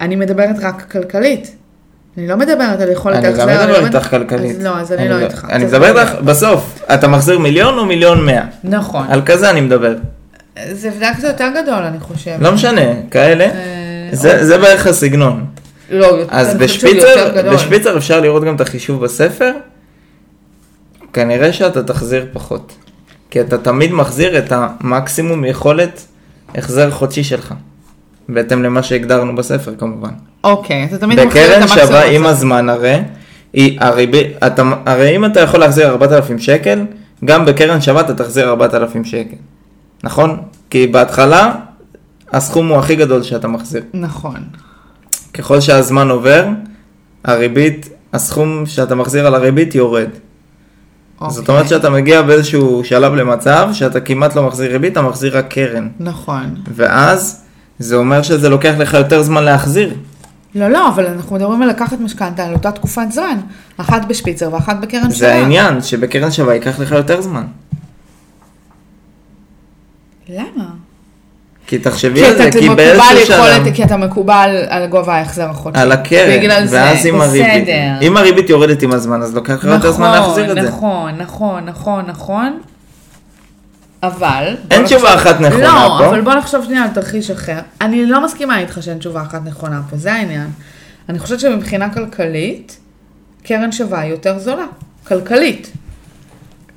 אני מדברת רק כלכלית. אני לא מדברת על יכולת
אני
ההחזר.
גם מדבר
מד-
איתך כלכלית.
אז לא, אז אני לא איתך.
אני
אז
מדבר איתך בסוף, אתה מחזיר מיליון או מיליון מאה?
נכון.
על כזה אני מדבר.
זה דווקא יותר גדול, אני חושבת.
לא משנה, כאלה.
אה,
זה זה בערך הסגנון.
לא, יותר-
אז
אני חושבת שהוא יותר
בשפיצר,
גדול.
בשפיצר אפשר לראות גם את החישוב בספר, כנראה שאתה תחזיר פחות. כי אתה תמיד מחזיר את המקסימום יכולת החזר חודשי שלך. בהתאם למה שהגדרנו בספר כמובן.
אוקיי, אתה תמיד מחזיר את
בקרן
המקסימום.
שווה עם
הזה.
הזמן הרי, היא, הריבי, אתה, הרי אם אתה יכול להחזיר 4,000 שקל, גם בקרן שווה אתה תחזיר 4,000 שקל. נכון? כי בהתחלה הסכום הוא הכי גדול שאתה מחזיר.
נכון.
ככל שהזמן עובר, הריבית, הסכום שאתה מחזיר על הריבית יורד.
אוקיי.
זאת אומרת שאתה מגיע באיזשהו שלב למצב שאתה כמעט לא מחזיר ריבית, אתה מחזיר רק קרן.
נכון.
ואז זה אומר שזה לוקח לך יותר זמן להחזיר.
לא, לא, אבל אנחנו מדברים על לקחת משכנתה על אותה תקופת זמן. אחת בשפיצר ואחת בקרן שווה.
זה העניין, שבקרן שווה ייקח לך יותר זמן.
למה?
כי תחשבי
כי
על זה,
אתה
כי
מקובל
באיזשהו שלב,
יכולת, כי אתה מקובל על גובה ההחזר החודשי.
על הקרן,
בגלל זה,
ואז עם הריבית,
בסדר.
אם הריבית יורדת עם הזמן, אז לוקח לך יותר זמן להחזיר את זה.
נכון, נכון, נכון, נכון, אבל... בוא
אין
נחשוב-
תשובה אחת נכונה
לא, אבל
פה.
בוא נחשוב שנייה על תרחיש אחר. אני לא מסכימה איתך שאין תשובה אחת נכונה פה, זה העניין. אני חושבת שמבחינה כלכלית, קרן שווה היא יותר זולה. כלכלית.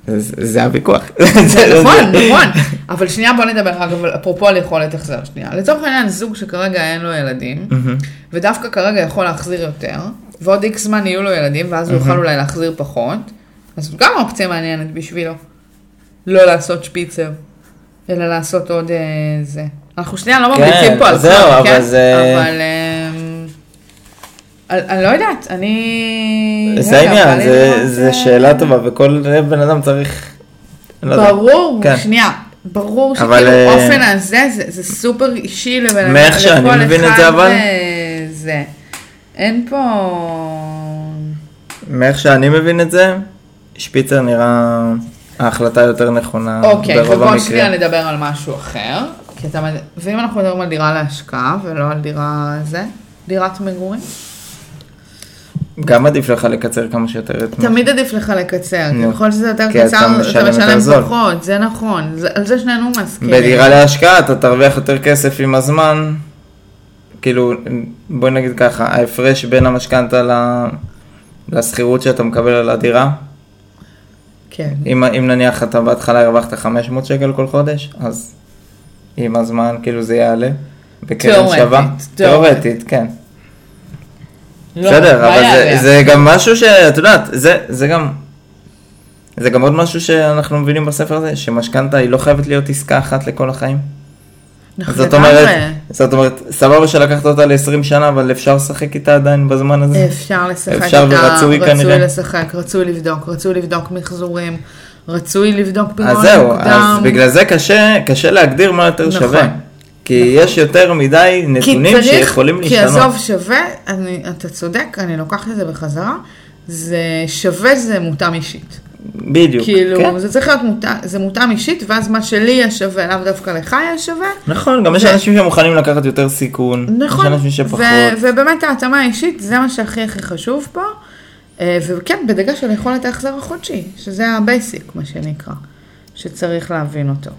זה- זה הוויכוח. לא
זה נכון, נכון. אבל שנייה בוא נדבר רק, אבל אפרופו על יכולת החזר שנייה. לצורך העניין, זוג שכרגע אין לו ילדים, ודווקא כרגע יכול להחזיר יותר, ועוד איקס זמן יהיו לו ילדים, ואז הוא יוכל אולי להחזיר פחות, אז גם אופציה מעניינת בשבילו. לא לעשות שפיצר, אלא לעשות עוד אה, זה. אנחנו שנייה לא
כן,
ממליצים פה על
זהו,
זמן,
אבל
כן?
זה-
אבל... אמ, אני אני לא יודעת, אני...
זה
רגע,
העניין,
בא לי
זה-
לראות,
זה
אה,
שאלה טובה, וכל בן אדם צריך... לא יודע.
ברור,
כן.
שנייה, ברור
אבל,
שכאילו
אה,
אופן הזה זה- זה סופר אישי לבן
מאיך שאני
לכל
מבין את
אחד,
זה, אבל-
אה, זה. אין פה...
מאיך שאני מבין את זה, שפיצר נראה ההחלטה היותר נכונה
אוקיי,
אה, ברוב
ובוא שנייה
המקרים.
נדבר על משהו אחר. כי אתה... מד- ואם אנחנו מדברים על דירה להשקעה ולא על דירה זה, דירת מגורים?
גם עדיף לך לקצר כמה שיותר את מה
תמיד עדיף לך לקצר, כי
נו.
ככל שזה יותר
כי אתה
קצר, אתה
משלם יותר זול.
משלם פחות, זה נכון, זה- על זה שנינו מסכימים.
בדירה להשקעה אתה תרוויח יותר כסף עם הזמן, כאילו בוא נגיד ככה, ההפרש בין המשכנתה ל- לשכירות שאתה מקבל על הדירה,
כן.
אם, אם נניח אתה בהתחלה הרווחת 500 שקל כל חודש, אז עם הזמן כאילו זה יעלה, בקרן
תיאורטית,
שווה,
תיאורטית.
תיאורטית, כן.
לא,
בסדר, אבל
בעיה,
זה,
בעיה.
זה גם משהו שאת יודעת, זה, זה גם... זה גם עוד משהו שאנחנו מבינים בספר הזה, שמשכנתה היא לא חייבת להיות עסקה אחת לכל החיים.
נכון,
זאת
לגמרי.
אומרת, זאת אומרת, סבבה שלקחת אותה ל-20 שנה, אבל אפשר לשחק איתה עדיין בזמן הזה?
אפשר לשחק
אפשר
איתה,
ורצוי
רצוי
כנראה.
לשחק, רצוי לבדוק, רצוי לבדוק מחזורים, רצוי לבדוק פירעון
אז
מוקדם.
זהו, אז בגלל זה קשה, קשה להגדיר מה יותר
לא, נכון.
שווה. כי יש יותר מדי
כי
נתונים
צריך-
שיכולים
כי
להשתנות.
עזוב שווה, אני, אתה צודק, אני לוקחת את זה בחזרה, זה שווה זה מותאם אישית.
בדיוק.
כאילו,
כן.
זה צריך להיות מותאם, זה מותאם אישית, ואז מה שלי יהיה שווה, לאו דווקא לך יהיה שווה.
נכון, גם יש
ו-
אנשים שמוכנים לקחת יותר סיכון.
נכון,
יש אנשים שפחות.
ו- ובאמת ההתאמה האישית זה מה שהכי הכי חשוב פה, אה, וכן, בדגש על יכולת ההחזר החודשי, שזה הבייסיק, מה שנקרא, שצריך להבין אותו.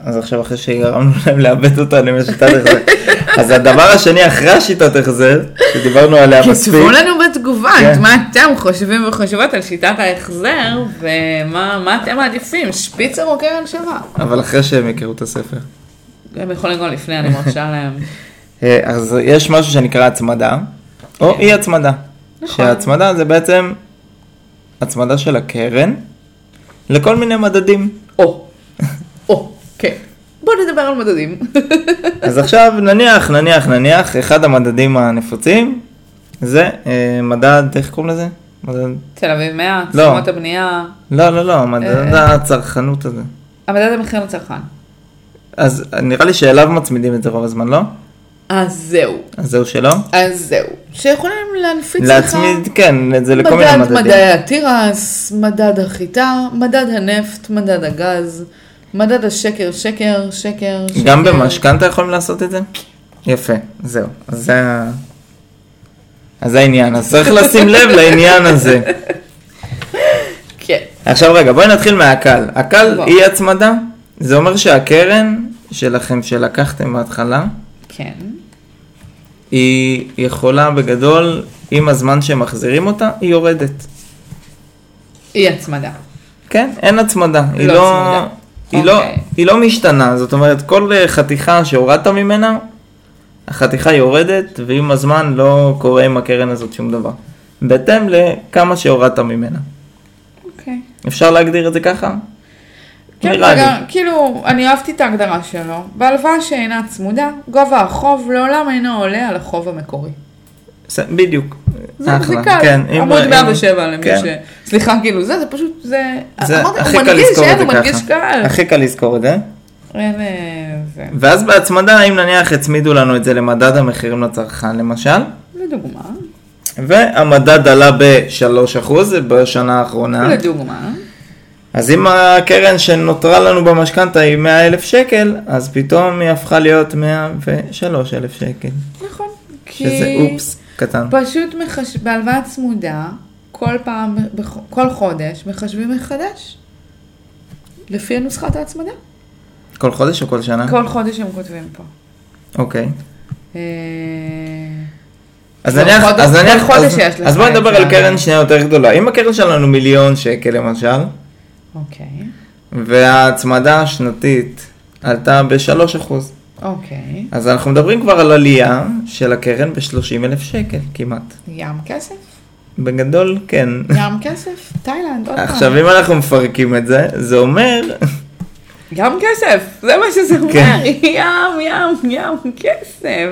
אז עכשיו אחרי שגרמנו להם לאבד אותנו עם השיטת החזר. אז הדבר השני אחרי השיטת החזר, שדיברנו עליה מספיק,
כתבו לנו בתגובה
כן.
את מה אתם חושבים וחושבות על שיטת ההחזר, ומה מה אתם מעדיפים, שפיצר או קרן שווה.
אבל אחרי שהם יכירו את הספר.
הם יכולים גם לפני, אני מרשה להם.
אה, אז יש משהו שנקרא הצמדה, או אי הצמדה.
כן. נכון.
שההצמדה זה בעצם הצמדה של הקרן לכל מיני מדדים.
או, או, כן. בואו נדבר על מדדים.
אז עכשיו נניח, נניח, נניח, אחד המדדים הנפוצים זה אה, מדד, איך קוראים לזה? מדד...
תל אביב 100,
לא.
תשומות הבנייה, אה.
לא, לא, לא, מדד הצרכנות הזה.
המדד המחיר לצרכן.
אז נראה לי שאליו מצמידים את זה רוב הזמן, לא?
אז זהו.
אז זהו שלא?
אז זהו. שיכולים להנפיץ
להצמיד, כן, את זה לכל מיני
מדד
מדדים.
מדעי התירס, מדד החיטה, מדד הנפט, מדד הגז, מדד השקר, שקר, שקר, שקר.
גם במשכנתה יכולים לעשות את זה? יפה, זהו. אז זה ה... אז זה העניין, אז צריך לשים לב לעניין הזה.
כן.
עכשיו רגע, בואי נתחיל מהקל. הקל
בוא.
היא הצמדה, זה אומר שהקרן שלכם שלקחתם בהתחלה,
כן.
היא יכולה בגדול, עם הזמן שמחזירים אותה, היא יורדת.
היא הצמדה.
כן, אין הצמדה. היא
לא
לא...
הצמדה.
היא, לא,
אוקיי.
היא לא משתנה, זאת אומרת כל אה, חתיכה שהורדת ממנה, החתיכה יורדת ועם הזמן לא קורה עם הקרן הזאת שום דבר. בהתאם לכמה שהורדת ממנה.
אוקיי.
אפשר להגדיר את זה ככה?
כן,
נראה לי.
וגם, כאילו, אני אהבתי את ההגדרה שלו. בהלוואה שאינה צמודה, גובה החוב לעולם אינו עולה על החוב המקורי.
ס- בדיוק.
זה
אחלה,
מחזיקה,
כן, אם-
עמוד
אם-
107 למי
כן.
ש... סליחה, כאילו, זה, זה פשוט, זה...
זה
אמרתי,
הכי
הוא
קל
מנגיש,
לזכור
אין,
את זה
הוא מנגיש
ככה.
קל.
הכי קל לזכור את זה.
אין, אה, זה...
ואז בהצמדה, אם נניח הצמידו לנו את זה למדד המחירים לצרכן למשל,
לדוגמה,
והמדד עלה ב-3% בשנה האחרונה.
לדוגמה,
אז אם הקרן שנותרה לנו במשכנתה היא 100 אלף שקל, אז פתאום היא הפכה להיות 103 אלף שקל.
נכון, כי
שזה אופס קטן.
פשוט מחש... בהלוואה צמודה, כל פעם, בח- כל חודש, מחשבים מחדש, לפי נוסחת ההצמדה.
כל חודש או כל שנה?
כל חודש הם כותבים פה.
אוקיי.
אה,
אז
כל
נניח,
חודש-
אז
כל
נניח,
חודש
אז-
יש לך
אז בוא
את
נדבר
ה-
על קרן שנייה יותר גדולה. אם הקרן שלנו מיליון שקל למשל,
אוקיי,
וההצמדה השנתית עלתה ב-3%,
אוקיי,
אז אנחנו מדברים כבר על עלייה של הקרן ב-30 אלף שקל כמעט.
ים כסף,
בגדול, כן.
ים כסף, תאילנד, עוד פעם,
עכשיו, אם אנחנו מפרקים את זה, זה אומר
ים כסף, זה מה שזה
כן.
אומר, ים, ים, ים כסף.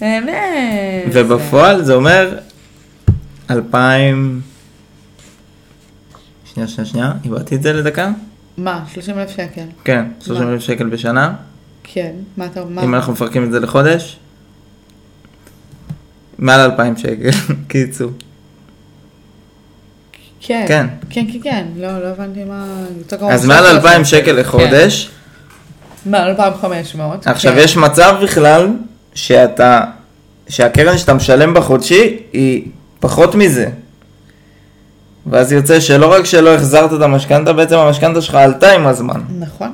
באמת.
ובפועל זה אומר אלפיים... שנייה, שנייה, שנייה, איבדתי את זה לדקה?
מה, 30 אלף שקל?
כן, 30 אלף שקל בשנה.
כן, מה אתה אומר?
אם אנחנו מפרקים את זה לחודש, מעל אלפיים שקל, קיצור.
כן,
כן.
כן, כן, כן, כן, לא, לא הבנתי מה... יותר גרוע
אז
מ-
מעל
3,000
אלפיים שקל לחודש,
כן. מעל 2,500.
עכשיו
כן.
יש מצב בכלל שאתה, שהקרן שאתה משלם בחודשי היא פחות מזה. ואז יוצא שלא רק שלא החזרת את המשכנתה, בעצם המשכנתה שלך עלתה עם הזמן.
נכון,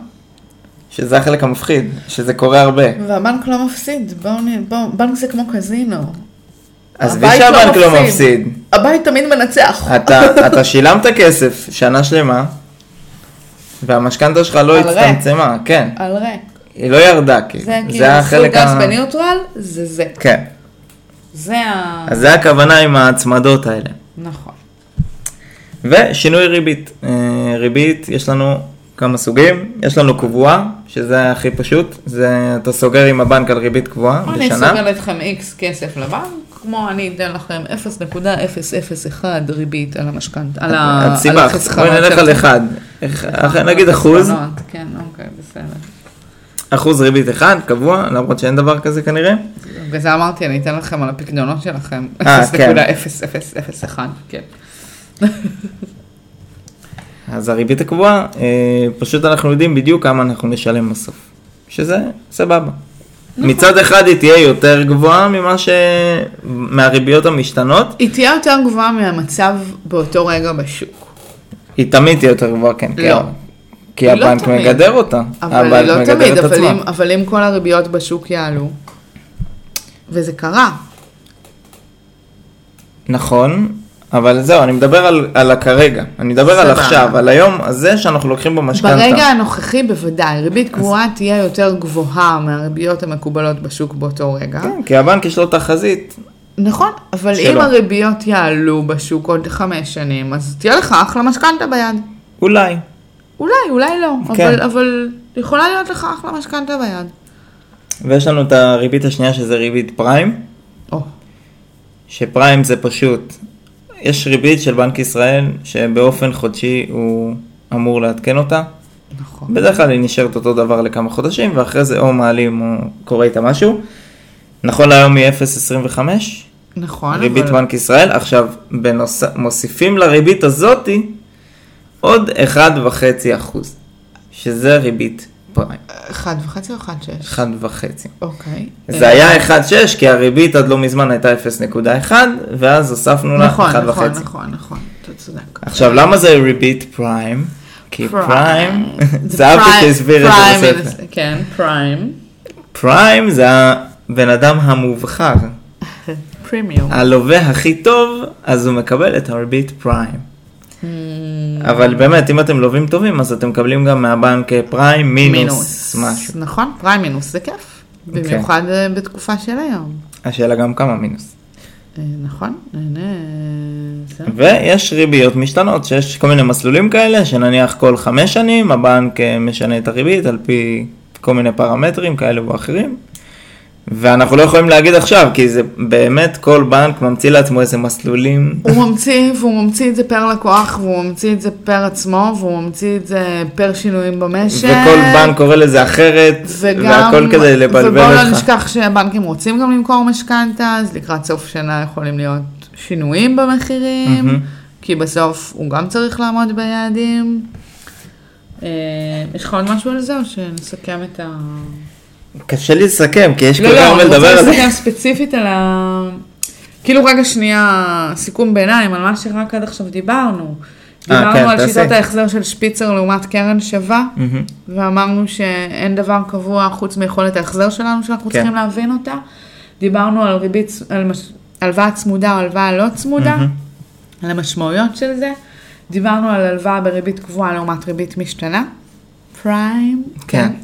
שזה החלק המפחיד, שזה קורה הרבה.
והבנק לא מפסיד, בואו נ... בואו, בנק זה כמו קזינו.
עזבי
הבית לא
שהבנק לא
מפסיד.
מפסיד.
הבית תמיד מנצח.
אתה, אתה שילמת כסף שנה שלמה, והמשכנתה שלך לא
על ריק.
הצטמצמה, כן.
על ריק.
היא לא ירדה, כאילו.
זה כאילו סוג גז בניוטרל, זה זה.
כן.
זה ה...
אז זה הכוונה עם ההצמדות האלה.
נכון.
ושינוי ריבית. אה, ריבית, יש לנו כמה סוגים. יש לנו קבועה, שזה הכי פשוט. זה, אתה סוגר עם הבנק על ריבית קבועה
אני
בשנה.
סוגר אתכם איקס כסף לבנק, כמו אני אתן לכם 0.001 ריבית על המשכנתה, על ה- על
הסיבה,
החסכונות
בואי נלך
שלכם.
על אחד. איך- אח-
אה,
נגיד אחוז,
חסכונות, כן, אוקיי, בסדר.
אחוז ריבית אחד, קבוע, למרות שאין דבר כזה כנראה.
בגלל זה אמרתי, אני אתן לכם על הפקדונות שלכם.
אה, כן.
0.0001, כן.
אז הריבית הקבועה, אה, פשוט אנחנו יודעים בדיוק כמה אנחנו נשלם בסוף. שזה סבבה.
נכון.
מצד אחד היא תהיה יותר גבוהה ממה ש... מהריביות המשתנות,
היא תהיה יותר גבוהה מהמצב באותו רגע בשוק.
היא תמיד תהיה יותר גבוהה, כן. כי
לא.
ה- כי
היא לא
הבנק
תמיד.
מגדר אותה.
אבל
הבנק
לא
מגדר
תמיד,
את
אבל
עצמה.
אם, אבל אם כל הריביות בשוק יעלו, וזה קרה,
נכון, אבל זהו, אני מדבר על, על הכרגע. אני מדבר על
סבבה.
עכשיו, על היום הזה שאנחנו לוקחים בו משכנתה.
ברגע הנוכחי בוודאי, ריבית קבועה תהיה יותר גבוהה מהריביות המקובלות בשוק באותו רגע.
כן, כי הבנק יש לו תחזית.
נכון, אבל
שלא.
אם הריביות יעלו בשוק עוד חמש שנים, אז תהיה לך אחלה משכנתה ביד.
אולי.
אולי, אולי לא,
כן.
אבל, אבל יכולה להיות לך אחלה משכנתה ביד.
ויש לנו את הריבית השנייה שזה ריבית פריים.
או,
שפריים זה פשוט, יש ריבית של בנק ישראל שבאופן חודשי הוא אמור לעדכן אותה,
נכון.
בדרך כלל היא נשארת אותו דבר לכמה חודשים, ואחרי זה או מעלים או קורה איתה משהו. נכון להיום היא 0.25,
נכון,
ריבית בנק ישראל. עכשיו, בנוס... מוסיפים לריבית הזאתי עוד 1.5 אחוז, שזה ריבית פריים,
אחד וחצי או אחד שש?
1.5.
אוקיי.
זה
אה,
היה 1.6 כי הריבית עד לא מזמן הייתה 0.1 ואז הוספנו לה 1.5.
נכון, נכון, נכון, נכון, אתה צודק.
עכשיו למה זה ריבית פריים? כי
Prime.
פריים,
זה
זה אבא
prime-
שהסביר את
prime
זה
in
בספר.
a- כן, פריים.
פריים זה הבן אדם המובחר,
פרימיום.
הלווה הכי טוב, אז הוא מקבל את הריבית פריים.
Hmm,
אבל באמת, אם אתם לווים טובים, אז אתם מקבלים גם מהבנק פריים מינוס משהו. כן.
נכון, פריים מינוס זה כיף. במיוחד אה, בתקופה של היום.
השאלה גם כמה מינוס.
אה, נכון, נהנה. אה, זה.
ויש ריביות משתנות, שיש כל מיני מסלולים כאלה, שנניח כל חמש שנים הבנק אה, משנה את הריבית על פי כל מיני פרמטרים כאלה ואחרים. ואנחנו לא יכולים להגיד עכשיו, כי זה באמת כל בנק ממציא לעצמו איזה מסלולים.
הוא ממציא, והוא ממציא את זה פר לקוח, והוא ממציא את זה פר עצמו, והוא ממציא את זה פר שינויים במשק.
וכל בנק קורא לזה אחרת,
וגם,
והכל כדי לבלבל
ובואו לא
אותך.
נשכח שהבנקים רוצים גם למכור משכנתה, אז לקראת סוף שנה יכולים להיות שינויים במחירים, כי בסוף הוא גם צריך לעמוד ביעדים. אה, יש לך עוד משהו על זה, או שנסכם את ה...
קשה לי לסכם, כי יש כל
לא,
כך
לא,
הרבה
אני
לדבר
רוצה
על זה.
לסכם ספציפית על ה... כאילו רגע שנייה, סיכום ביניים, על מה שרק עד עכשיו דיברנו.
אה,
דיברנו
כן,
על
תעשי.
שיטת ההחזר של שפיצר לעומת קרן שווה.
מהמם.
ואמרנו שאין דבר קבוע חוץ מיכולת ההחזר שלנו שאנחנו
כן.
צריכים להבין אותה. דיברנו על ריבית, צ- על מש- הלוואה צמודה או הלוואה לא צמודה, על המשמעויות של זה. דיברנו על הלוואה בריבית קבועה לעומת ריבית משתנה, פריים.
כן.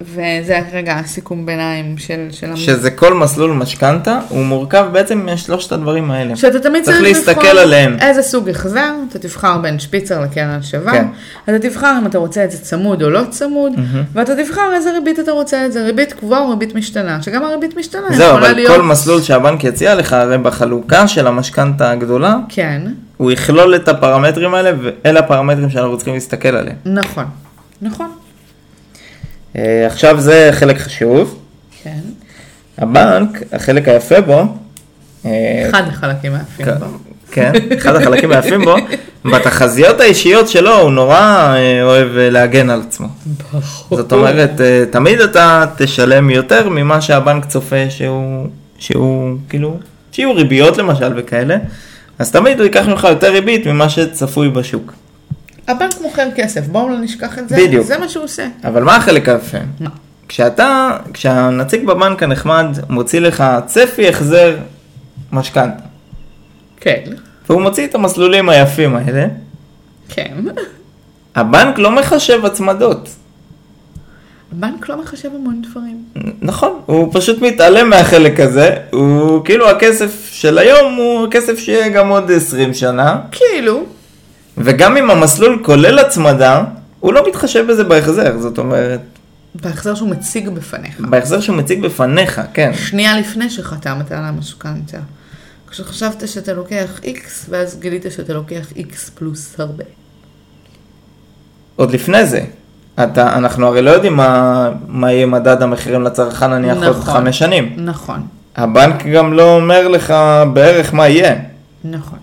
וזה רגע הסיכום ביניים של, של המ-
שזה כל מסלול משכנתה, הוא מורכב בעצם משלושת הדברים האלה.
שאתה תמיד
צריך
צריך לבחור
להסתכל עליהם.
איזה סוג החזר, אתה תבחר בין שפיצר לקרן שווה,
כן.
אתה תבחר אם אתה רוצה את זה צמוד או לא צמוד, ואתה תבחר איזה ריבית אתה רוצה את זה, ריבית קבועה או ריבית משתנה, שגם הריבית משתנה
זהו,
יכולה
אבל כל
להיות...
מסלול שהבנק יציע לך, הרי בחלוקה של המשכנתה הגדולה,
כן,
הוא יכלול את הפרמטרים האלה, ואלה הפרמטרים שאנחנו צריכים להסתכל עליהם.
נכון, נכון,
אה, עכשיו זה חלק חשוב.
כן,
הבנק, החלק היפה בו, אה,
אחד החלקים היפים
כ-
בו.
כן, אחד החלקים היפים בו, בתחזיות האישיות שלו הוא נורא אה, אוהב אה, להגן על עצמו. זאת אומרת, אה, תמיד אתה תשלם יותר ממה שהבנק צופה שהוא, שהוא, כאילו, שיהיו ריביות למשל וכאלה, אז תמיד הוא ייקח ממך יותר ריבית ממה שצפוי בשוק.
הבנק מוכר כסף, בואו לא נשכח את זה,
בדיוק.
זה מה שהוא עושה.
אבל מה החלק היפה?
מה?
כשאתה, כשהנציג בבנק הנחמד מוציא לך צפי החזר משכנתה,
כן,
והוא מוציא את המסלולים היפים האלה,
כן.
הבנק לא מחשב הצמדות.
הבנק לא מחשב המון דברים.
נכון, הוא פשוט מתעלם מהחלק הזה, הוא כאילו הכסף של היום הוא הכסף שיהיה גם עוד 20 שנה,
כאילו,
וגם אם המסלול כולל הצמדה, הוא לא מתחשב בזה בהחזר, זאת אומרת,
בהחזר שהוא מציג בפניך.
בהחזר שהוא מציג בפניך, כן.
שנייה לפני שחתמת על המשכנתה. כשחשבת שאתה לוקח X, ואז גילית שאתה לוקח X פלוס הרבה.
עוד לפני זה, אתה, אנחנו הרי לא יודעים מה, מה יהיה מדד המחירים לצרכן נניח נכון. עוד
נכון.
חמש שנים.
נכון,
הבנק גם לא אומר לך בערך מה יהיה.
נכון.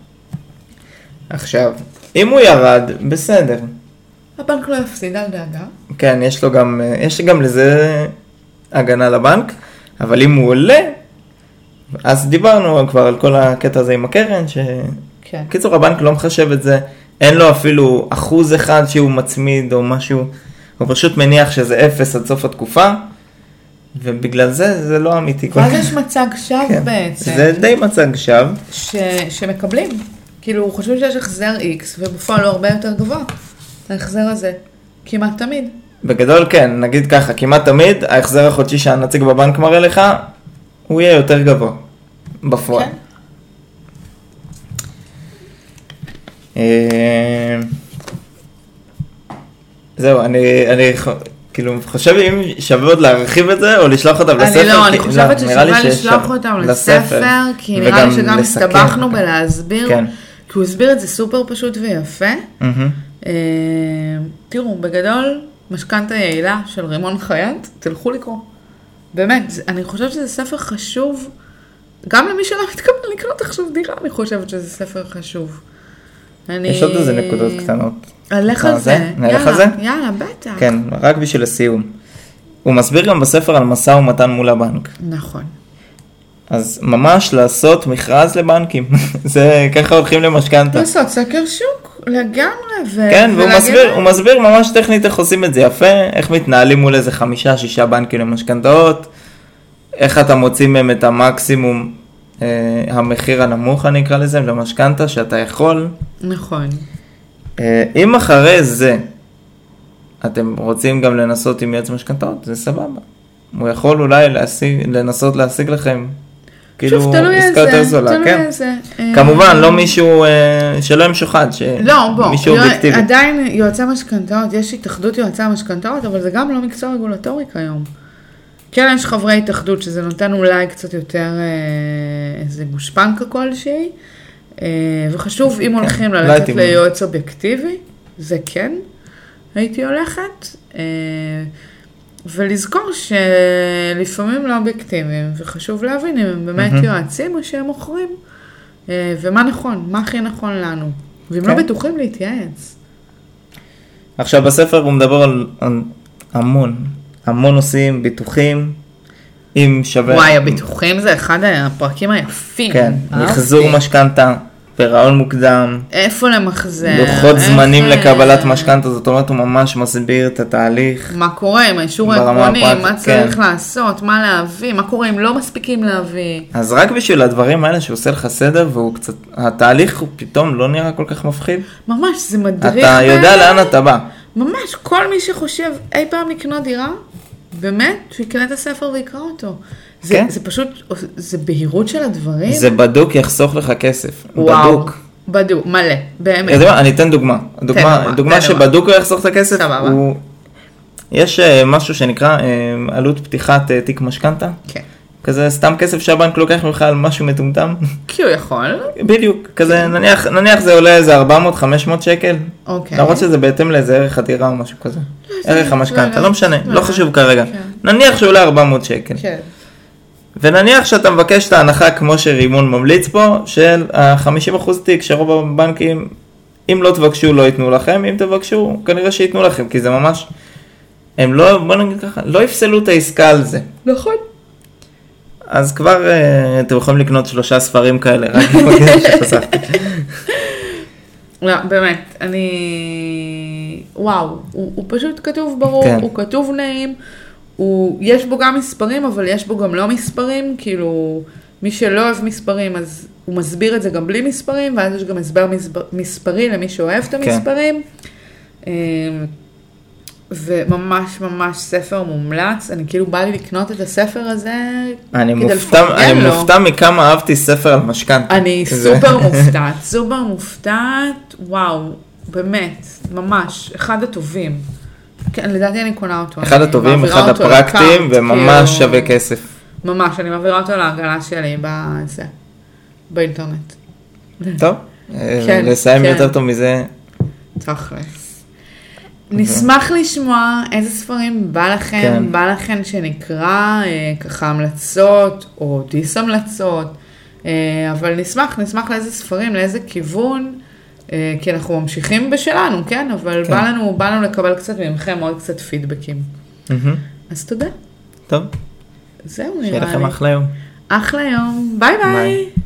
עכשיו, אם הוא ירד, בסדר.
הבנק לא יפסיד, אל דאגה.
כן, יש לו גם, יש גם לזה הגנה לבנק, אבל אם הוא עולה, אז דיברנו כבר על כל הקטע הזה עם הקרן, ש...
כן.
קיצור, הבנק לא מחשב את זה, אין לו אפילו אחוז אחד שהוא מצמיד או משהו, הוא פשוט מניח שזה אפס עד סוף התקופה, ובגלל זה זה לא אמיתי. כל
ואז
כך.
יש מצג שווא
כן.
בעצם,
זה די מצג שווא.
ש... שמקבלים. כאילו, חושבים שיש החזר X, ובפועל הוא הרבה יותר גבוה. ההחזר הזה, כמעט תמיד.
בגדול כן, נגיד ככה, כמעט תמיד ההחזר החודשי שהנציג בבנק מראה לך, הוא יהיה יותר גבוה, בפועל.
כן.
אה, זהו, אני, אני ח- כאילו חושב אם שווה עוד להרחיב את זה, או לשלוח אותם
אני
לספר.
לא, אני
כי-
חושבת
לא, נראה לי
ששווה
שיש
לשלוח
שווה-
אותם
לספר,
לספר, כי נראה לי
וגם
שגם
לסכם
הסתבכנו
אותם.
בלהסביר,
כן.
כי הוא הסביר את זה סופר פשוט ויפה.
מהמם.
אה, תראו, בגדול, משכנתה יעילה של רימון חייט, תלכו לקרוא. באמת, זה- אני חושבת שזה ספר חשוב, גם למי שלא מתכוון לקנות עכשיו דירה, אני חושבת שזה ספר חשוב. אני...
יש עוד איזה נקודות קטנות.
נלך על
מה
זה.
נלך
יאללה,
על זה?
יאללה, בטח.
כן, רק בשביל הסיום. הוא מסביר גם בספר על משא ומתן מול הבנק.
נכון.
אז ממש לעשות מכרז לבנקים. זה ככה הולכים למשכנתה.
לעשות סקר שוק לגמרי. ו...
כן, והוא
ולהגיד-
מסביר, הוא מסביר ממש טכנית איך עושים את זה יפה, איך מתנהלים מול איזה חמישה, שישה בנקים למשכנתאות, איך אתה מוציא מהם את המקסימום, אה, המחיר הנמוך אני אקרא לזה, למשכנתה שאתה יכול.
נכון.
אה, אם אחרי זה אתם רוצים גם לנסות עם יועץ משכנתאות, זה סבבה. הוא יכול אולי להשיג, לנסות להשיג לכם, כאילו,
שוב, תלוי
עסקה
איזה,
יותר זולה,
תלוי
כן.
איזה. אה,
כמובן, לא מישהו, אה, שלא עם שוחד,
לא, בוא,
מישהו
יוע-
אובייקטיבי.
עדיין יועצי משכנתאות, יש התאחדות יועצי המשכנתאות, אבל זה גם לא מקצוע רגולטורי כיום. כן, יש חברי התאחדות, שזה נותן אולי קצת יותר אה, איזה גושפנקה כלשהי, אה, וחשוב, אם הולכים
לא
ללכת
הייתי-
ליועץ אובייקטיבי, זה כן, הייתי הולכת, אה, ולזכור שלפעמים לא אובייקטיביים, וחשוב להבין אם הם באמת
מהמם.
יועצים או שהם מוכרים. אה, ומה נכון, מה הכי נכון לנו. ואם
כן.
לא בטוחים להתייעץ.
עכשיו בספר הוא מדבר על, על המון, המון נושאים, ביטוחים, אם שווה...
וואי, הביטוחים זה אחד הפרקים היפים. אה? אוקיי.
כן,
אהבתי.
מחזור משכנתה, פירעון מוקדם,
איפה למחזר.
לוחות
איך,
זמנים
אה,
לקבלת משכנתה, זאת אומרת הוא ממש מסביר את התהליך.
מה קורה עם האישור
ברמה
העקרוני, מה
הפרקטית,
צריך
כן.
לעשות, מה להביא, מה קורה אם לא מספיקים להביא.
אז רק בשביל הדברים האלה שהוא עושה לך סדר והוא קצת, התהליך הוא פתאום לא נראה כל כך מפחיד.
ממש, זה מדריך.
אתה יודע
בעיניי.
לאן אתה בא.
ממש, כל מי שחושב אי פעם לקנות דירה, באמת, שיקנה את הספר ויקרא אותו. זה,
כן.
זה פשוט, זה בהירות של הדברים.
זה בדוק יחסוך לך כסף.
אה. וואו.
בדוק.
בדוק, מלא, באמת.
אתה יודע מה, אה, אני אתן דוגמה. דוגמה,
דוגמה,
דוגמה
תן דוגמה.
שבדוק הוא יחסוך את הכסף.
סבבה.
הוא... יש אה, משהו שנקרא אה, עלות פתיחת אה, תיק משכנתה.
כן.
כזה סתם כסף שהבנק לוקח ממך על משהו מטומטם.
כי הוא יכול.
בדיוק. כזה
כן.
נניח, נניח זה עולה איזה 400-500 שקל.
אוקיי.
למרות שזה בהתאם לאיזה ערך הדירה או משהו כזה.
לא,
ערך
לא,
המשכנתה,
לא,
לא משנה,
לא,
לא
לא.
חשוב כרגע.
כן.
נניח שעולה 400 שקל.
כן.
ונניח שאתה מבקש את ההנחה כמו שרימון ממליץ פה, של ה-50% תיק שרוב הבנקים, אם לא תבקשו לא ייתנו לכם, אם תבקשו כנראה שייתנו לכם, כי זה ממש, הם לא, בוא נגיד ככה, לא יפסלו את העסקה על זה.
נכון.
אז כבר אה, אתם יכולים לקנות שלושה ספרים כאלה, רק עם הכסף שחסכתי.
לא, באמת, אני... וואו, הוא, הוא פשוט כתוב ברור,
כן.
הוא כתוב נעים, הוא... יש בו גם מספרים, אבל יש בו גם לא מספרים, כאילו, מי שלא אוהב מספרים, אז הוא מסביר את זה גם בלי מספרים, ואז יש גם הסבר מספר, מספרי למי שאוהב את המספרים. כן. וממש ממש ספר מומלץ, אני כאילו בא לי לקנות את הספר הזה
אני
כדי
מופתע-
לפרגן
אני
לו.
מופתע מכמה אהבתי ספר על משכנתה.
אני
זה-
סופר מופתעת, סופר מופתעת, וואו, באמת, ממש, אחד הטובים. כן, לדעתי אני קונה אותו.
אחד
אני
הטובים,
מעבירה
אחד
אותו
הפרקטיים,
לקארט,
וממש
כאילו,
שווה כסף.
ממש, אני מעבירה אותו לעגלה שלי בזה, באינטרנט,
טוב, אה,
כן,
לסיים
כן.
יותר טוב מזה,
תכלס. נשמח לשמוע איזה ספרים בא לכם,
כן.
בא לכם שנקרא, אה, ככה המלצות או דיס המלצות, אה, אבל נשמח, נשמח לאיזה ספרים, לאיזה כיוון, אה, כי אנחנו ממשיכים בשלנו, כן? אבל
כן.
בא לנו, בא לנו לקבל קצת ממכם עוד קצת פידבקים.
מהמם.
אז תודה,
טוב,
זהו
שיהיה
נראה
לכם
לי.
אחלה יום.
אחלה יום, ביי ביי.
ביי.